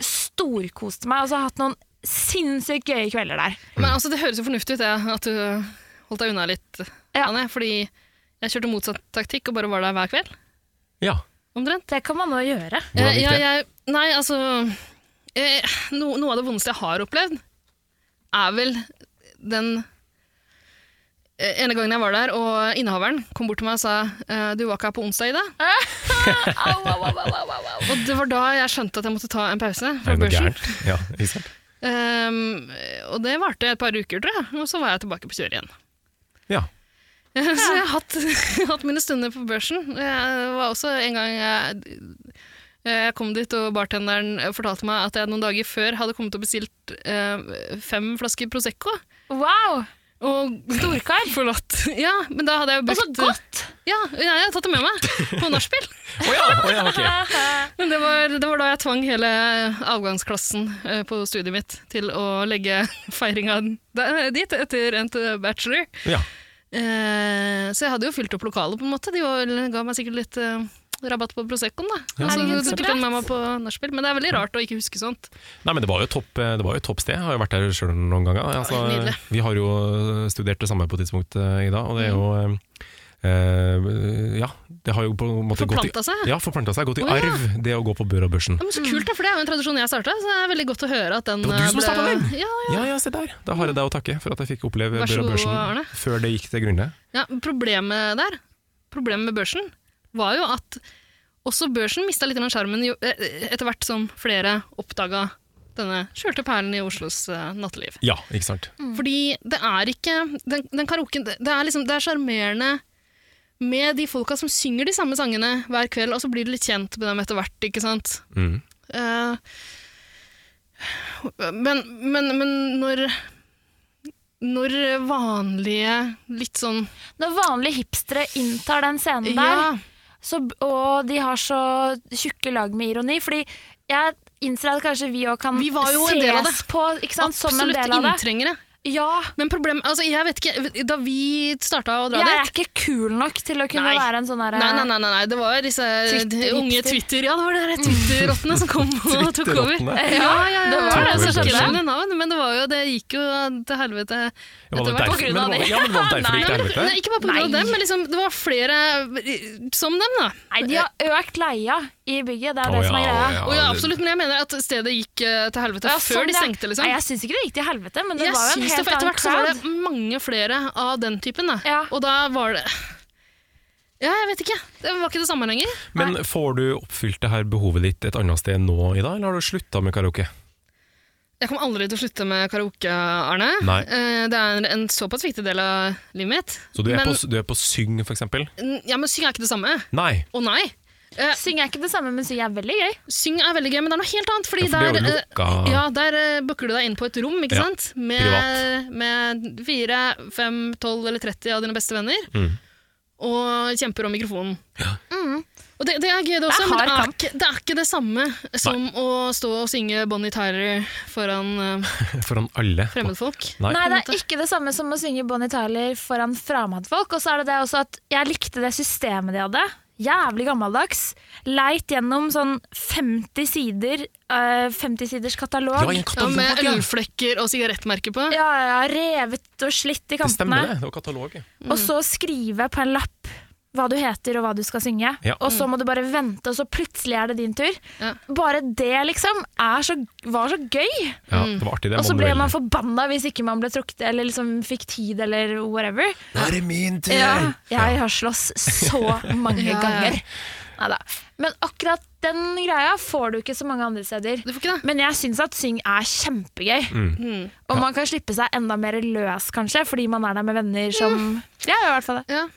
storkoste meg. Altså, jeg har hatt noen sinnssykt gøye kvelder der.
Mm.
Men altså, det høres jo fornuftig ut, det, at du holdt deg unna litt,
Ja.
Anne. Fordi jeg kjørte motsatt taktikk og bare var der hver kveld.
ja.
Omtrent.
Det kan man nå gjøre.
Hvordan
Eh,
gikk
ja,
det?
jeg, nei, altså eh, no, Noe av det vondeste jeg har opplevd, er vel den eh, ene gangen jeg var der, og innehaveren kom bort til meg og sa eh, 'Du var ikke her på onsdag, Ida'. og det var da jeg skjønte at jeg måtte ta en pause
Er
fra
det noe
børsen.
gærent? Ja, ikke sant?
Ehm, og det varte et par uker, tror jeg. Og så var jeg tilbake på kjøret igjen.
Ja.
Så jeg har hatt, hatt mine stunder på børsen. Jeg var også en gang jeg, jeg kom dit, og bartenderen fortalte meg at jeg noen dager før hadde kommet og bestilt eh, fem flasker Prosecco.
Wow!
Og Storkar? Forlatt. Ja, men da hadde jeg jo
Og så
brukt
godt!
Ja, jeg har tatt det med meg på nachspiel.
Å ja, å ja, ok.
Men det var, det var da jeg tvang hele avgangsklassen eh, på studiet mitt til å legge feiringa der- eh, dit etter endt bachelor.
Ja.
Eh, så jeg hadde jo fylt opp lokalet, på en måte. De var, eller ga meg sikkert litt eh, rabatt på Proseccoen, da. Og så
Herregud, så
dukket den med meg på nachspiel. Men det er veldig rart å ikke huske sånt.
Nei, men det var jo et topp, eh, det var jo et topp sted. Jeg har jo vært der sjøl noen ganger. Altså,
Nydelig.
vi har jo studert det samme på tidspunktet i dag, og det er jo
Mm.
eh, Ja, det har jo på en måte gått i
Forplanta seg. Ja.
ja, forplanta seg, gått i
Å, ja.
arv, det å gå på Bør og Børsen.
men så kult, da, for det er jo en tradisjon jeg starta. Så det er veldig godt å høre at den
Det var du
eh,
som startet den?
Ja,
Ja, ja, se der! Da har jeg deg å takke for at jeg fikk oppleve
Vær så
Bør og
god, Arne.
Børsen før det gikk til grunne.
Ja, problemet der, problemet med børsen, var jo at også børsen mista litt av sjarmen jo- eh, etter hvert som flere oppdaga denne skjulte perlen i Oslos eh, natteliv.
Ja, ikke sant.
Fordi det er ikke Den, den karaoken Det det er liksom, det er sjarmerende med de folka som synger de samme sangene hver kveld, og så blir du litt kjent med dem etter hvert, ikke sant?
Mm.
Eh, men, men, men når Når vanlige, litt sånn
Når vanlige hipstere inntar den scenen der,
Ja.
så, og de har så tjukke lag med ironi, fordi jeg innser at kanskje vi òg kan
Vi var jo en del av
ses på ikke sant, som en
Absolutt
del av det.
inntrengere.
Ja,
Men problem, altså, jeg vet ikke, da vi starta å dra
Jeg er
dit
ikke kul nok til å kunne
Nei.
være en sånn herre
Nei, nei, nei, nei, nei, det var disse
Twitter-
unge
hipster.
Twitter Ja, det var de der Twitter-rottene som kom og tok over.
Twitterottene.
Ja, ja, ja,
Det
Altså,
var
det som
Jeg husker
skjedde.
ikke det navn, men det var jo, det gikk jo til helvete
Ja, var det
etter hvert.
derfor- men det var- Ja, men det var derfor det gikk til helvete.
Nei, ikke bare på grunn av
Nei.
dem, men liksom, det var flere eh, som dem, da.
Nei, de har økt leia i bygget, det er
Å
det som er
ja,
greia.
å ja.
Og ja,
det-
absolutt, men jeg mener at stedet gikk eh, til helvete
Ja, sånn
før de
det er.
stengte, liksom.
Nei, jeg syns ikke det gikk til helvete, men det
Jeg
var jo en
syns det,
helt
for etter
annen
hvert så var
crowd.
det mange flere av den typen. Da.
Ja.
Og da var det Ja, jeg vet ikke. Det var ikke det samme lenger.
Men får du oppfylt det her behovet ditt et annet sted nå i dag, eller har du slutta med karaoke?
Jeg kommer aldri til å slutte med karaoke, Arne.
Nei.
Eh, Det er en, en såpass viktig del av livet mitt.
Så du er,
men,
på, du er på syng, for eksempel?
Ja, men syng er ikke det samme.
Nei.
Å nei. Eh,
Syng er ikke det samme, men syng er veldig gøy.
Syng er veldig gøy, men det er noe helt annet. Fordi
Ja, for det er
der,
jo
eh,
lukka.
ja, der eh, booker du deg inn på et rom, ikke
Ja,
sant? Med,
privat.
med fire, fem, tolv eller 30 av dine beste venner.
Mm.
Og kjemper om mikrofonen. Og det, det er gøy, det også,
Mm. Det er
men det
hard
er,
kamp.
ikke, det er ikke det samme som å stå og synge Bonnie Tyler foran eh,
Foran alle.
fremmedfolk.
Nei.
Nei, det
måte.
er ikke det samme som å synge Bonnie Tyler foran fremmedfolk. Og så er det det også at jeg likte det systemet de hadde. Jævlig gammeldags. Leit gjennom sånn 50 sider, eh, 50 siders
Ja,
katalog.
i en
Ja,
katalog,
med
ja.
ølflekker og sigarettmerker på.
Ja, ja, revet og slitt i
Det stemmer,
kantene. Mm.
det. Det var katalog. ja.
Og så skrive på en lapp. hva du heter og hva du skal synge,
Ja.
og så må du bare vente, og så plutselig er det din tur.
Ja.
Bare det liksom er så, var så gøy.
Ja, det var artig, det.
Og så ble
manuelle.
man forbanna hvis ikke man ble trukket eller liksom fikk tid eller whatever.
Nå er det min tur!
Jeg har slåss så mange
Ja, ja.
ganger. Neida. Men akkurat den greia får du ikke så mange andre steder.
Du får ikke det. Mm.
Men jeg syns at syng er kjempegøy. Og man kan slippe seg enda mer løs, kanskje, fordi man er der med venner som Jeg gjør i hvert fall det.
Ja.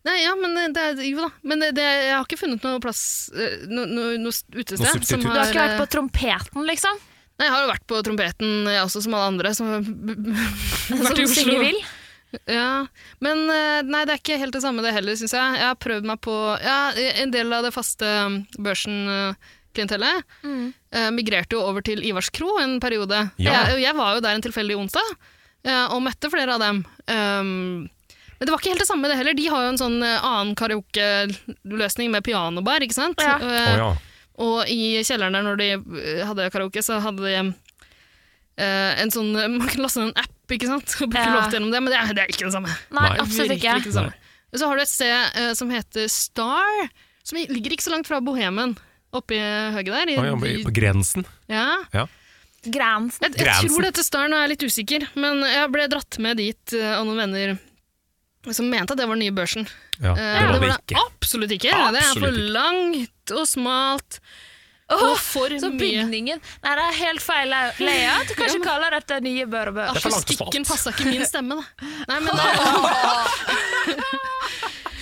Nei, ja, men eh, det er Jo da. Men eh, det, jeg har ikke funnet noe plass eh, no, no, noe utested.
Noe substitutt.
som
Du har ikke vært
eh,
på trompeten, liksom?
Nei, jeg har jo vært på trompeten, jeg også, som alle andre. Som,
Som
vært i
du
Oslo.
synger vil?
Ja, Men eh, nei, det er ikke helt det samme det heller, syns jeg. Jeg har prøvd meg på ja, en del av det faste um, børsen-klientellet.
Mm.
Eh, migrerte jo over til Ivars Kro en periode.
Ja.
Jeg, og jeg var jo der en tilfeldig onsdag, eh, og møtte flere av dem. Um, men det var ikke helt det samme det heller. De har jo en sånn eh, annen karaoke-løsning med pianobar, ikke sant?
Ja.
Eh,
Å ja.
og i kjelleren der, når de øh, hadde karaoke, så hadde de øh, en sånn Man kunne laste ned en app, ikke sant? Og booke
Ja.
låt gjennom det, men det er, det er ikke det samme.
Nei,
Nei.
absolutt
Virkelig
ikke.
ikke det samme. Og så har du et sted øh, som heter Star, som ligger ikke så langt fra Bohemen. Oppi høyre der. I,
Å, ja. På grensen.
ja.
Gransen.
Jeg, jeg
Grensen.
tror det heter Star, nå er jeg litt usikker, men jeg ble dratt med dit øh, av noen venner som mente at det var den nye børsen.
Ja,
Eh,
det var det ikke.
Absolutt ikke. det er
Absolutt
for
ikke.
langt og smalt. og for
Så
mye.
bygningen Nei, det er helt feil la- layout. Kanskje kaller dette nye Bør og Bør.
for langt asfalt.
Akustikken passa ikke min stemme, da. Nei, men der,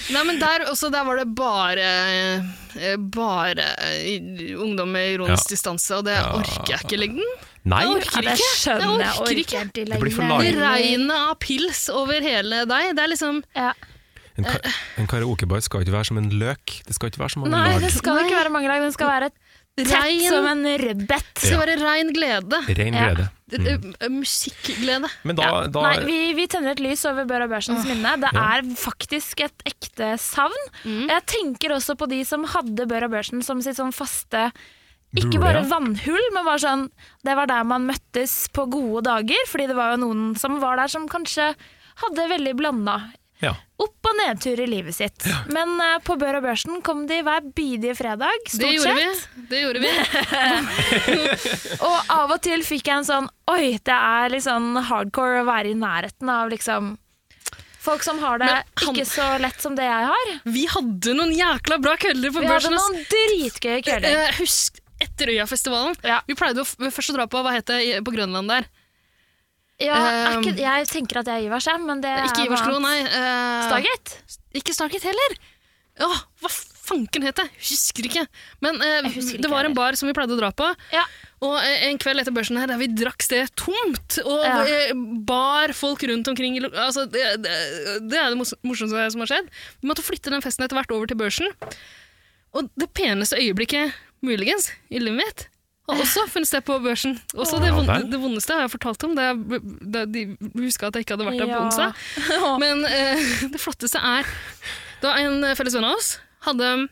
Nei, men der, også, der var det bare eh, Bare eh, ungdom med ironisk
Ja.
distanse, og det orker jeg ikke lengden.
Nei,
Jeg
Ja,
orker
det
ikke.
skjønner jeg.
orker ikke.
helt i
Det blir for
lengden.
langt.
Det regnet av pils over hele deg. Det er liksom
Ja.
en, ka en karaokebar skal ikke være som en løk. Det skal ikke være så mange
Nei, det
lag.
skal ikke være mange lag. Den skal være tett
rein
som en rødbet.
Det skal være rein glede.
Ren
Ja.
glede.
Eh, eh, Musikkglede.
Men da,
Ja.
da
Nei, vi, vi tenner et lys over Bør og Børsens minne. Det er faktisk et ekte savn.
Mm.
Jeg tenker også på de som hadde Bør og Børsen som sitt sånn faste ikke
Bule,
bare
ja.
vannhull, men bare sånn, det var der man møttes på gode dager. Fordi det var jo noen som var der som kanskje hadde veldig blanda
ja.
opp- og nedtur i livet sitt. Men eh, på Bør og Børsen kom de hver bidige fredag,
Det
stort
gjorde vi.
sett.
Det gjorde vi.
Og av og til fikk jeg en sånn Oi, det er litt sånn hardcore å være i nærheten av liksom Folk som har det
Men han-
ikke så lett som det jeg har.
Vi hadde noen jækla bra kvelder på
Vi hadde
børsen. ass.
noen dritgøye kvelder.
Eh, husk etter Øyafestivalen.
Ja.
Vi pleide å f først å dra på hva het det i- på Grønland der.
Ja, er
ehm,
ikke, jeg tenker at jeg er Ivars, jeg, men det
Ikke
er
Ivarsklo, nei. eh,
Staget?
Ikke Stargate heller. Åh, hva fanken het det? Husker ikke. Men eh,
Jeg husker ikke
det var en
heller.
bar som vi pleide å dra på.
Ja.
Og eh, en kveld etter børsen her, der vi drakk stedet tomt, og
Ja.
eh, bar folk rundt omkring i lo- altså, det, det, det er det mors- morsomste som har skjedd. Vi måtte flytte den festen etter hvert over til børsen. Og det peneste øyeblikket, muligens, i livet mitt, har også funnet sted på børsen. Også det,
Ja
vonde,
vel.
det vondeste har jeg fortalt om. Det er, det er, de husker at jeg ikke hadde vært der på
Ja.
onsdag. Men eh, det flotteste er Da en eh, felles venn av oss hadde um,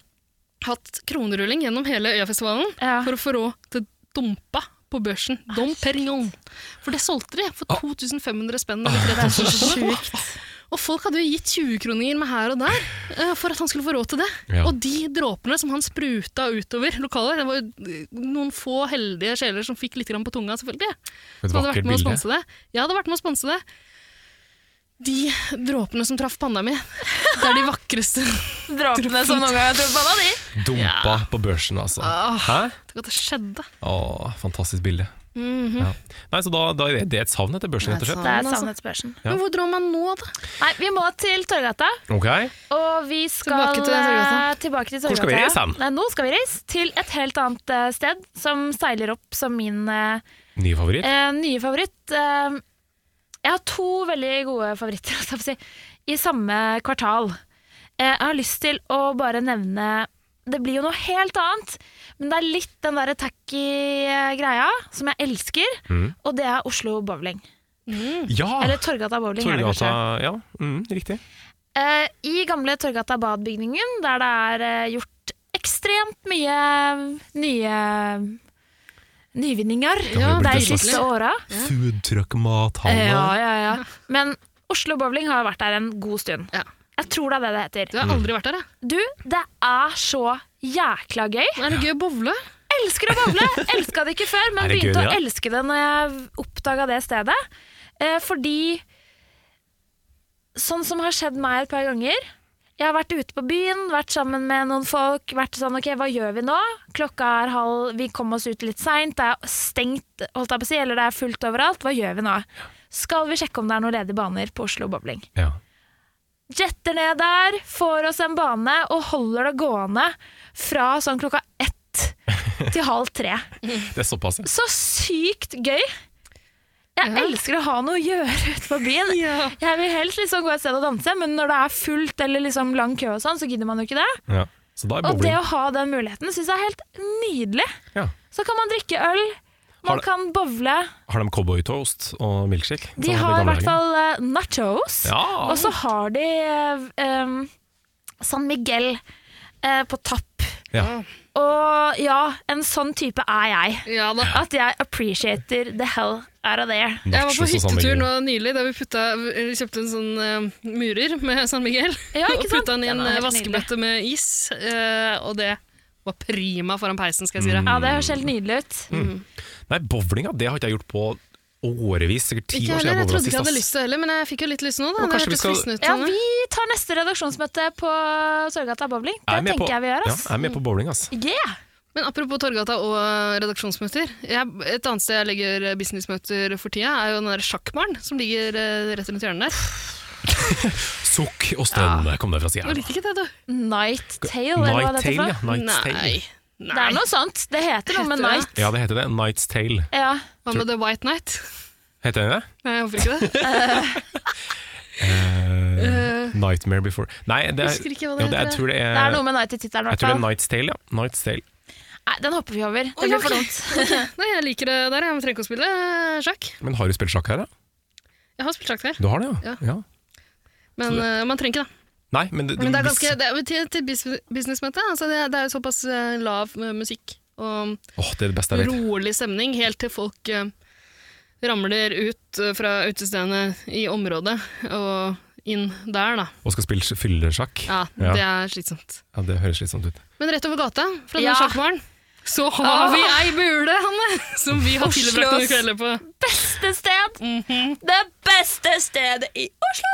hatt kronerulling gjennom hele Øyafestivalen
Ja.
for å få råd til Dompa på børsen. Dom Perignon. For det solgte de for 2500 spenn. Eller 3000 kroner. Og folk hadde jo gitt 20-kroninger med her og der eh, for at han skulle få råd til det.
Ja.
Og de dråpene som han spruta utover lokalet Det var jo eh, noen få heldige sjeler som fikk litt grann på tunga, selvfølgelig.
Et
Som hadde vært
vakkert
med å
bilde.
sponse det. Jeg hadde vært med å sponse det. De dråpene som traff panna mi, det er de vakreste.
Dråpene som noen gang har trodd på noen av de.
Dumpa på børsen, altså.
Ah.
Hæ?
Tenk at det skjedde.
Åh, fantastisk bilde. ja. Nei, så da, da er det et savn etter børsen, rett og slett.
Mhm. Det er
Men altså-
sannhetsbørsen.
Ja.
Men hvor drar man nå, da?
Nei, vi må til Torgata,
Ok,
og vi skal
Tilbake til Torggata.
eh, tilbake til Torgata.
Hvor skal vi reise hen?
Nei, nå skal vi reise til et helt annet eh, sted, som seiler opp som min eh,
Ny favoritt?
Eh, nye favoritt eh, Jeg har to veldig gode favoritter holdt jeg på å si, i samme kvartal. Eh, jeg har lyst til å bare nevne Det blir jo noe helt annet, men det er litt den derre tacky eh, greia som jeg elsker,
Mm.
og det er Oslo Bowling.
Ja!
Eh, Eller Torgata Bowling. er det
Ah, Torgata
kanskje.
Ja, mm, riktig.
Eh, I gamle Torgata Bad-bygningen, der det er eh, gjort ekstremt mye nye nyvinninger
Ja,
de
det er
siste åra.
Foodtruck-mathallen.
Ja, ja, ja. Men Oslo Bowling har vært der en god stund.
Ja.
Jeg tror det er det det heter.
Du har aldri vært der, jeg.
Du, det er så jækla gøy.
Er det gøy å bowle?
Elsker å bowle! Elska det ikke før, men
Er det
begynte å
gøy, ja?
elske det når jeg oppdaga det stedet. Eh, fordi sånn som har skjedd meg et par ganger Jeg har vært ute på byen, vært sammen med noen folk. Vært sånn OK, hva gjør vi nå? Klokka er halv Vi kom oss ut litt seint. Det er stengt, holdt jeg på å si, eller det er fullt overalt. Hva gjør vi nå? Skal vi sjekke om det er noen ledige baner på Oslo Bowling?
Ja.
jetter ned der, får oss en bane og holder det gående fra sånn klokka ett til halv tre.
Det er såpass. ja.
Så sykt gøy! Jeg elsker å ha noe å gjøre ute på byen. Jeg vil helst liksom gå et sted og danse, men når det er fullt eller liksom lang kø, og sånn, så gidder man jo ikke det.
Ja. Så da er
Og det
bowling.
å ha den muligheten syns jeg er helt nydelig.
Ja.
Så kan man drikke øl,
Har
man
det-
kan bowle.
Har de cowboytoast og milkshake?
De
Sånn
har i
gamle
hvert
dager.
fall eh, nachos.
Ja.
Og så har de eh, um, San Miguel eh, på tapp.
Ja.
Og ja, en sånn type er jeg.
Ja da.
At jeg appreciater the hell out of there.
Jeg var på
Nachos og sånn,
hyttetur nå
Miguel.
nylig, der vi putta, eller kjøpte en sånn eh, murer med San Miguel.
Ja, ikke
og
sant?
putta den i en
Den er
eh,
helt
vaskebøtte med is, eh, og det var prima foran peisen, skal jeg si
Mm,
deg.
Ja, det høres helt nydelig ut.
Nei, bowlinga det har ikke jeg gjort på årevis. Sikkert ti år
Ikke heller,
siden
jeg
jeg bowla
trodde ikke jeg
sist.
hadde
ass.
lyst til det heller, men jeg fikk jo litt lyst nå. Da.
Og
Det
kanskje vi
hørtes
skal-
fristende ut.
Sånn, Ja,
Hanne.
vi tar neste redaksjonsmøte på Sørgata bowling. Det
Jeg er med
tenker
på-
jeg vi gjør.
Ja,
ass. Mm.
jeg er med på bowling, ass.
Yeah!
Men apropos Torgata og eh, redaksjonsmøter. Jeg, et annet sted jeg legger eh, businessmøter for tida, er jo den der sjakkbaren som ligger eh, rett rundt hjørnet der.
Sukk og stønn kom det fra sida.
Du liker ikke det, du?
Night Tale, eller hva
Night
det heter. for
Tale, ja.
noe.
Night's Tale.
Nei.
Det er noe sånt. Det heter noe med
Heter det?
night.
Ja, det heter det. Night's Tale.
Ja.
Hva med The White Night?
Heter det det?
Nei, jeg håper ikke det.
Eh, Nightmare Before Nei, det er,
Husker ikke hva det
jo, det, jeg
heter.
tror det er,
Det er noe med night i tittelen, i
Eh, Jeg
hvert
tror det er
fall.
Night's Tale, ja. Night's Tale.
Nei, den hopper vi over.
Oi,
Det blir for
ok.
dumt.
Nei, jeg liker det der. Jeg trenger ikke å spille eh, sjakk.
Men har du spilt sjakk her, da?
Jeg har spilt sjakk der,
Du har det, ja?
Ja. men eh, man trenger ikke det.
Nei, men det,
Men det er ganske, det er jo til, til bus- businessmøte. Altså det, er- det er jo såpass eh, lav eh, musikk og
Åh, det er det beste jeg vet.
rolig stemning helt til folk eh, ramler ut eh, fra utestedene i området og inn der, da.
Og skal spille fyllesjakk.
Ja,
Ja.
det er slitsomt.
Ja, det høres litt sånn ut.
Men rett over gata, fra den
Ja. Ah.
sjakkbaren, så har
Åh.
vi ei bule, Hanne! Som vi har tilbrakt noen
Oslos.
kvelder på.
Beste sted! Det beste stedet i Oslo!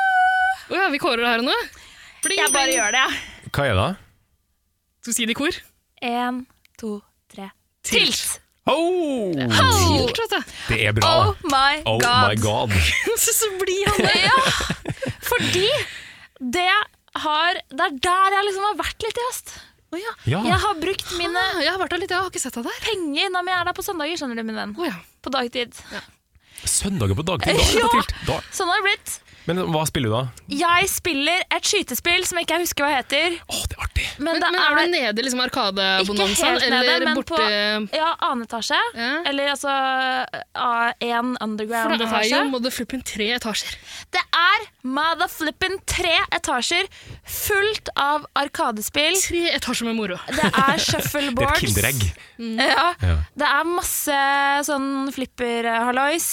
Å ja, vi kårer det her og nå? Bling,
Jeg bare
bling.
gjør det, jeg.
Hva er det?
Skal vi si det i kor?
En, to, tre. Tilt! Oh,
Oh!
Tilt, vet du.
Det er bra.
oh my
Oh
god.
my god.
Så, så blir han
Ja, fordi det har Det er der jeg liksom har vært litt i høst. Å ja.
Ja.
Jeg har brukt mine
Ah, Jeg har vært der litt, jeg har ikke sett deg der.
penger når jeg er der på søndager, skjønner du, min venn.
Å ja.
På dagtid.
Søndager på dagtid, da er det på tilt. Da.
Sånn har det blitt.
Men hva spiller du da?
Jeg spiller et skytespill som jeg ikke husker hva heter,
Åh, det er artig.
men,
Men,
det
men er, du nede i liksom Arkadebonanzaen,
Ikke helt nede,
eller
men
borte
er ja, annen etasje.
Ja.
Eller altså A1
For
underground
det er
etasje.
jo motherflipping tre etasjer.
Det er motherflippin' tre etasjer fullt av arkadespill.
Tre etasjer med moro.
Det er
Det er et
shuffleboards. Mm.
kinderegg.
Ja.
Ja.
Det er masse sånn flipper-hallois.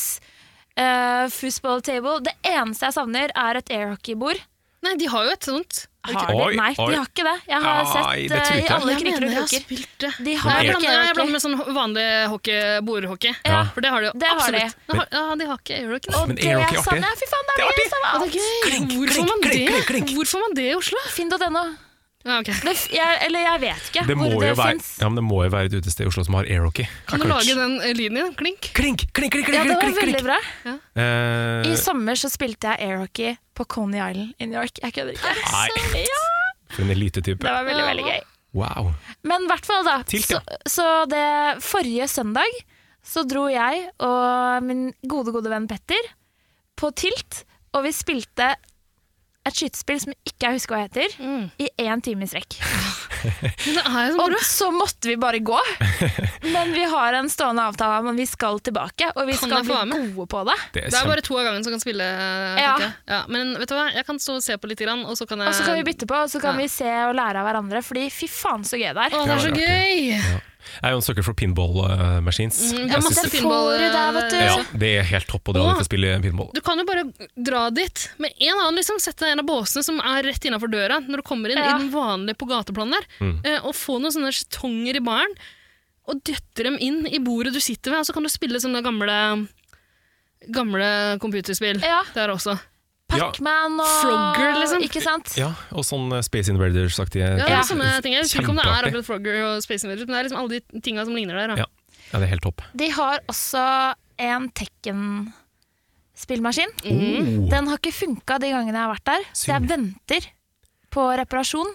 Uh, foosball table. Det eneste jeg savner, er et airhockey-bord.
Nei, de har jo et sånt.
Har
Oi,
de? Nei,
oi.
de har ikke det. Jeg har
Ai,
sett
det
eh,
trodde
i
jeg.
alle
Jeg
krikker
mener
og
jeg har
kroker.
spilt det.
De
Nei,
har
Men
jeg blander, jeg
airhockey.
blander med sånn vanlig hockey, bordhockey.
Ja.
For det har de jo
Det har de.
absolutt. De har, ja, de har ikke airhockey. da.
Og
Men
det
airhockey er artig.
savner jeg. Fy faen, det er det jeg
Å,
savner.
det er gøy. Hvorfor får man det? Hvor får man det i Oslo?
Finn.no.
Ja, ok.
Det f- jeg- Eller jeg vet ikke
Det må,
hvor
jo
det
være,
fins.
ja, men det må jo være et utested i Oslo som har airhockey.
Kan du lage den eh, lyden igjen? Klink.
Klink, klink, klink, klink,
Ja, det var
klink, klink,
veldig
klink.
bra. I
Eh,
sommer så spilte jeg airhockey på Coney Island i New York. Jeg kødder ikke.
Nei,
Ja,
for en elitetype.
det var veldig, veldig gøy.
Wow.
Men i hvert fall, da.
Tilt, ja.
så, så det forrige søndag så dro jeg og min gode, gode venn Petter på tilt, og vi spilte et skytespill som ikke jeg husker hva heter,
Mm.
i én time i strekk.
Men det er jo så
Og
moro.
så måtte vi bare gå. Men vi har en stående avtale om at vi skal tilbake, og vi
Kan
skal
jeg få være
bli
med?
gode på det.
Det er
Det er
kjempe...
bare to av gangen som kan spille. eh,
Ja.
tenker jeg. Ja, men vet du hva, jeg kan stå og se på litt, grann, og så kan jeg
Og så kan vi bytte på, og så kan
Um, Ja.
vi se og lære av hverandre, fordi fy faen så gøy det er.
Å, det er så
Det
gøy!
Jeg er jo en sucker for pinball eh, machines.
Mm, det
Jeg
er
synes-
masse
det får
pinball.
du der, vet du.
eh,
ja, det er helt topp å dra
Åh.
dit og spille pinball.
Du kan jo bare dra dit med en annen, liksom. Sette deg i en av båsene som er rett innafor døra når du kommer inn
Ja.
i den vanlige på gateplanen der,
Mm.
eh, og få noen sånne skjetonger i baren, og dytte dem inn i bordet du sitter ved, og så kan du spille sånne gamle Gamle computerspill
Ja.
der også.
Pac-Man og
Frogger, liksom.
Ikke sant?
Ja, og sånn eh, Space Invaders-aktige
Ja, det er sånne ting. Jeg husker ikke om det er
Kjempeartig.
akkurat Frogger og Space Invaders, men det er liksom alle de tinga som ligner der. Da.
Ja. Ja, det er helt topp.
De har også en Tekken-spillmaskin.
Mm.
Oh.
Den har ikke funka de gangene jeg har vært der, så
Synd.
jeg venter på reparasjon.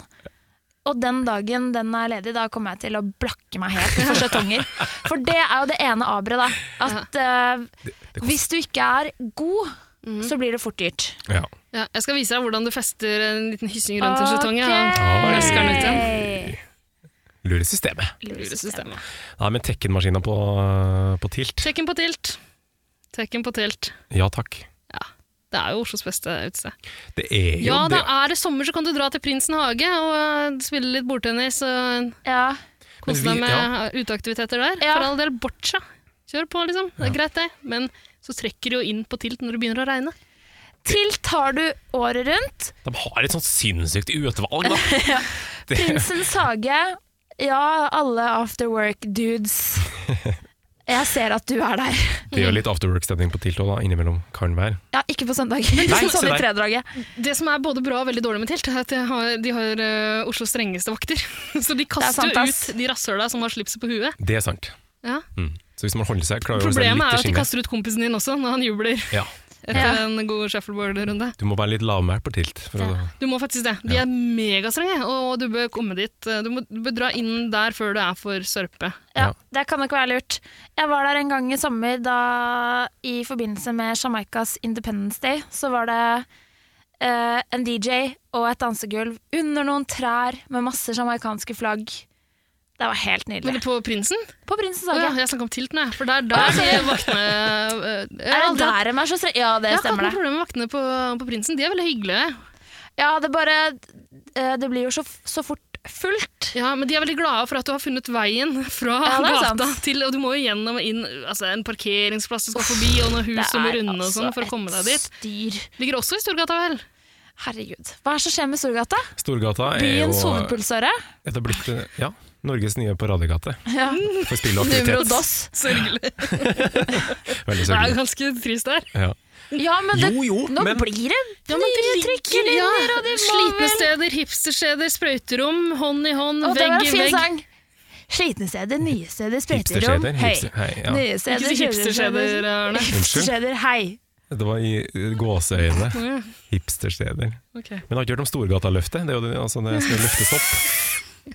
Og den dagen den er ledig, da kommer jeg til å blakke meg helt for skjetonger. For det er jo det ene aberet, da. At eh,
det koster-
hvis du ikke er god,
Mhm.
så blir det fort dyrt.
Ja.
Ja, jeg skal vise deg hvordan du fester en liten hyssing rundt en skjetong. Ja.
Oi.
Rasker den ut igjen.
Lurer systemet.
Luresystem.
Luresystemet.
Nei, men Tekken-maskina på, eh, på tilt.
Tekken på tilt. Tekken på tilt.
Ja takk.
Det er jo Oslos beste utested.
Det er jo
Ja, da
det.
er det sommer, så kan du dra til Prinsen hage og eh, spille litt bordtennis og
Ja.
kose
Men
deg
vi-
med
ja.
uteaktiviteter der.
Ja.
For all del, boccia. Kjør på, liksom. Det er greit, det. Men så trekker det jo inn på tilt når det begynner å regne.
Tilt har du året rundt.
De har et sånt sinnssykt utvalg, da.
Prinsens hage. Ja, alle afterwork-dudes. Jeg ser at du er der.
Det gjør litt afterwork-stemning på tilt òg, innimellom. Kan være.
Ja, ikke på søndag.
Nei, se
sånn i
der.
tredraget.
Det som er både bra og veldig dårlig med telt, er at de har, de har eh, Oslos strengeste vakter. Så de kaster
sant,
jo
ass.
ut de rasshøla som har slipset på huet.
Det er sant.
Ja.
Mm. Så hvis man holder seg, klarer å holde seg
Problemet
litt
er jo
i
at de
skinnet.
kaster ut kompisen din også, når han jubler
Ja.
etter en god shuffleboard-runde.
Du må være litt lavmælt på tilt. For å,
Du må faktisk det. De er megastrenge, og du bør komme dit. Du, må, du bør dra inn der før du er for sørpe.
Ja,
Ja.
Det kan nok være lurt. Jeg var der en gang i sommer da, i forbindelse med Jamaikas Independence Day. Så var det eh, en DJ og et dansegulv under noen trær med masse jamaicanske flagg. Det var helt
Men
nydelig.
på Prinsen?
På Prinsens
Å ja,
hage.
jeg snakka om tilten, jeg. For der, der er vaktene eh, Jeg har
Er det
aldri hatt-
der de er så strenge? Ja, det
jeg har ikke
stemmer,
hatt
det.
noe problem med vaktene på, på Prinsen. De er veldig hyggelige.
Ja, det bare eh, Det blir jo så, så fort fullt.
Ja, Men de er veldig glade for at du har funnet veien fra
Ja, det er
gata
sant.
til Og du må jo gjennom og inn altså, en parkeringsplass du skal forbi, og noen hus du må runde og
altså
sånn for å komme deg dit.
styr.
Ligger også i Storgata, vel?
Herregud. Hva er det som skjer med Storgata?
Storgata er jo
Byens hovedpulsåre.
Det har blitt eh, ja, Norges nye paradegate
Ja.
for spill og aktivitet.
Nevrodoss.
Sørgelig.
Veldig
Det er
sørgelig.
ganske trist der.
Ja.
Ja, men det,
Jo jo,
nå
men
blir det
Ja, men
nye trykkelinjer, og de må
Slitne
vel-
steder, hipstersteder, sprøyterom, hånd i hånd,
Å, det var
vegg
en
i
fin
vegg.
sang. Slitne steder, nye steder, sprøyterom.
hipsterskjeder.
Hei.
Hipster, hei, ja.
Nye
Ikke
steder,
si hipstersteder, Arne.
Hipsterskjeder, hei.
Det var i eh, gåseøyne.
Å, ja.
Hipstersteder.
Ok.
Men jeg har ikke hørt om Storgata-løftet. Det er jo det, altså, det skal løftes opp.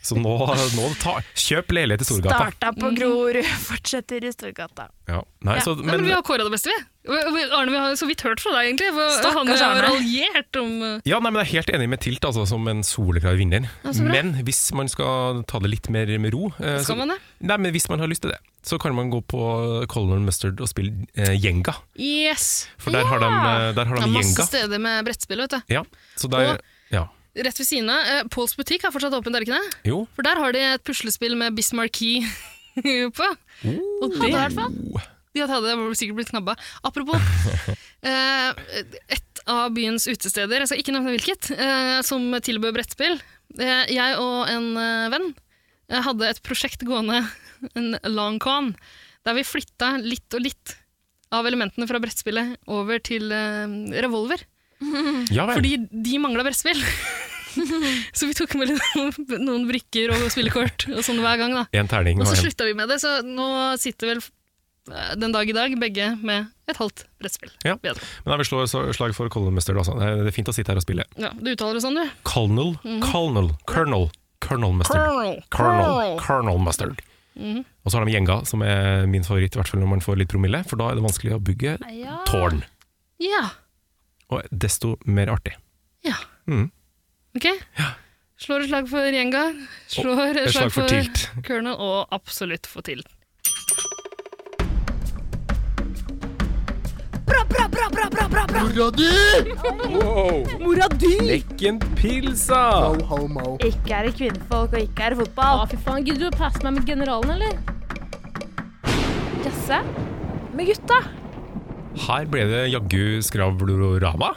Så nå, nå ta, kjøp leilighet i Storgata.
Starta
Mm.
på Grorud, fortsetter i Storgata.
Ja. Nei,
Ja.
så,
Nei, men,
men,
vi har kåra det beste, vi. Og- og Arne, vi har så vidt hørt fra deg, egentlig. For han eh,
Stakkars
har
Arne.
raljert om eh,
ja, nei, men jeg er helt enig med Tilt altså, som en soleklar vinner.
så bra.
men hvis man skal ta det litt mer med ro eh,
Skal
så,
man det?
Nei, men Hvis man har lyst til det, så kan man gå på Colonel Mustard og spille eh, Jenga.
Yes!
For der har de, eh, der har
Det er
de
masse
Jenga.
steder med brettspill, vet du.
Ja, så der,
Og-
ja.
Rett ved siden av. eh, Pauls butikk er fortsatt åpen, er det ikke det?
Jo.
For der har de et puslespill med Bismarcky på. Og det De hadde det var sikkert blitt knabba. Apropos, eh, et av byens utesteder, jeg skal ikke nevne hvilket, eh, som tilbød brettspill. Eh, jeg og en eh, venn eh, hadde et prosjekt gående, en long con, der vi flytta litt og litt av elementene fra brettspillet over til eh, revolver.
Ja vel.
Fordi de mangla brettspill. så vi tok med litt noen, noen brikker og spillekort og sånn hver gang, da.
En terning
Og
og
så
en
slutta vi med det, så nå sitter vel eh, den dag i dag begge med et halvt brettspill.
Ja.
Bedre.
Men jeg vil slå et slag for Colonel Mustard. Altså. Det er- det er fint å sitte her og spille.
Ja, du uttaler det sånn, du.
Colonel,
Mhm.
Colonel, Colonel, Colonel Mustard.
Colonel. Mhm.
Colonel, Colonel Mustard. Og så har de Jenga, som er min favoritt, i hvert fall når man får litt promille, for da er det vanskelig å bygge tårn.
Ja.
Og desto mer artig.
ja.
Mhm.
Ok? Slår et slag for Jenga. Slår et,
et
slag,
slag for
for,
tilt.
Colonel, og absolutt for tilt.
Bra, bra, bra, bra, bra, bra,
Mora di!
Wow.
Mora di!
Lekken pilsa!
Ho, ho, mo.
Ikke er det kvinnfolk, og ikke er det
Ja,
fotball.
fy faen. Gidder du å passe meg med generalen, eller?
Jazze med gutta.
Her ble det jaggu skravlorama.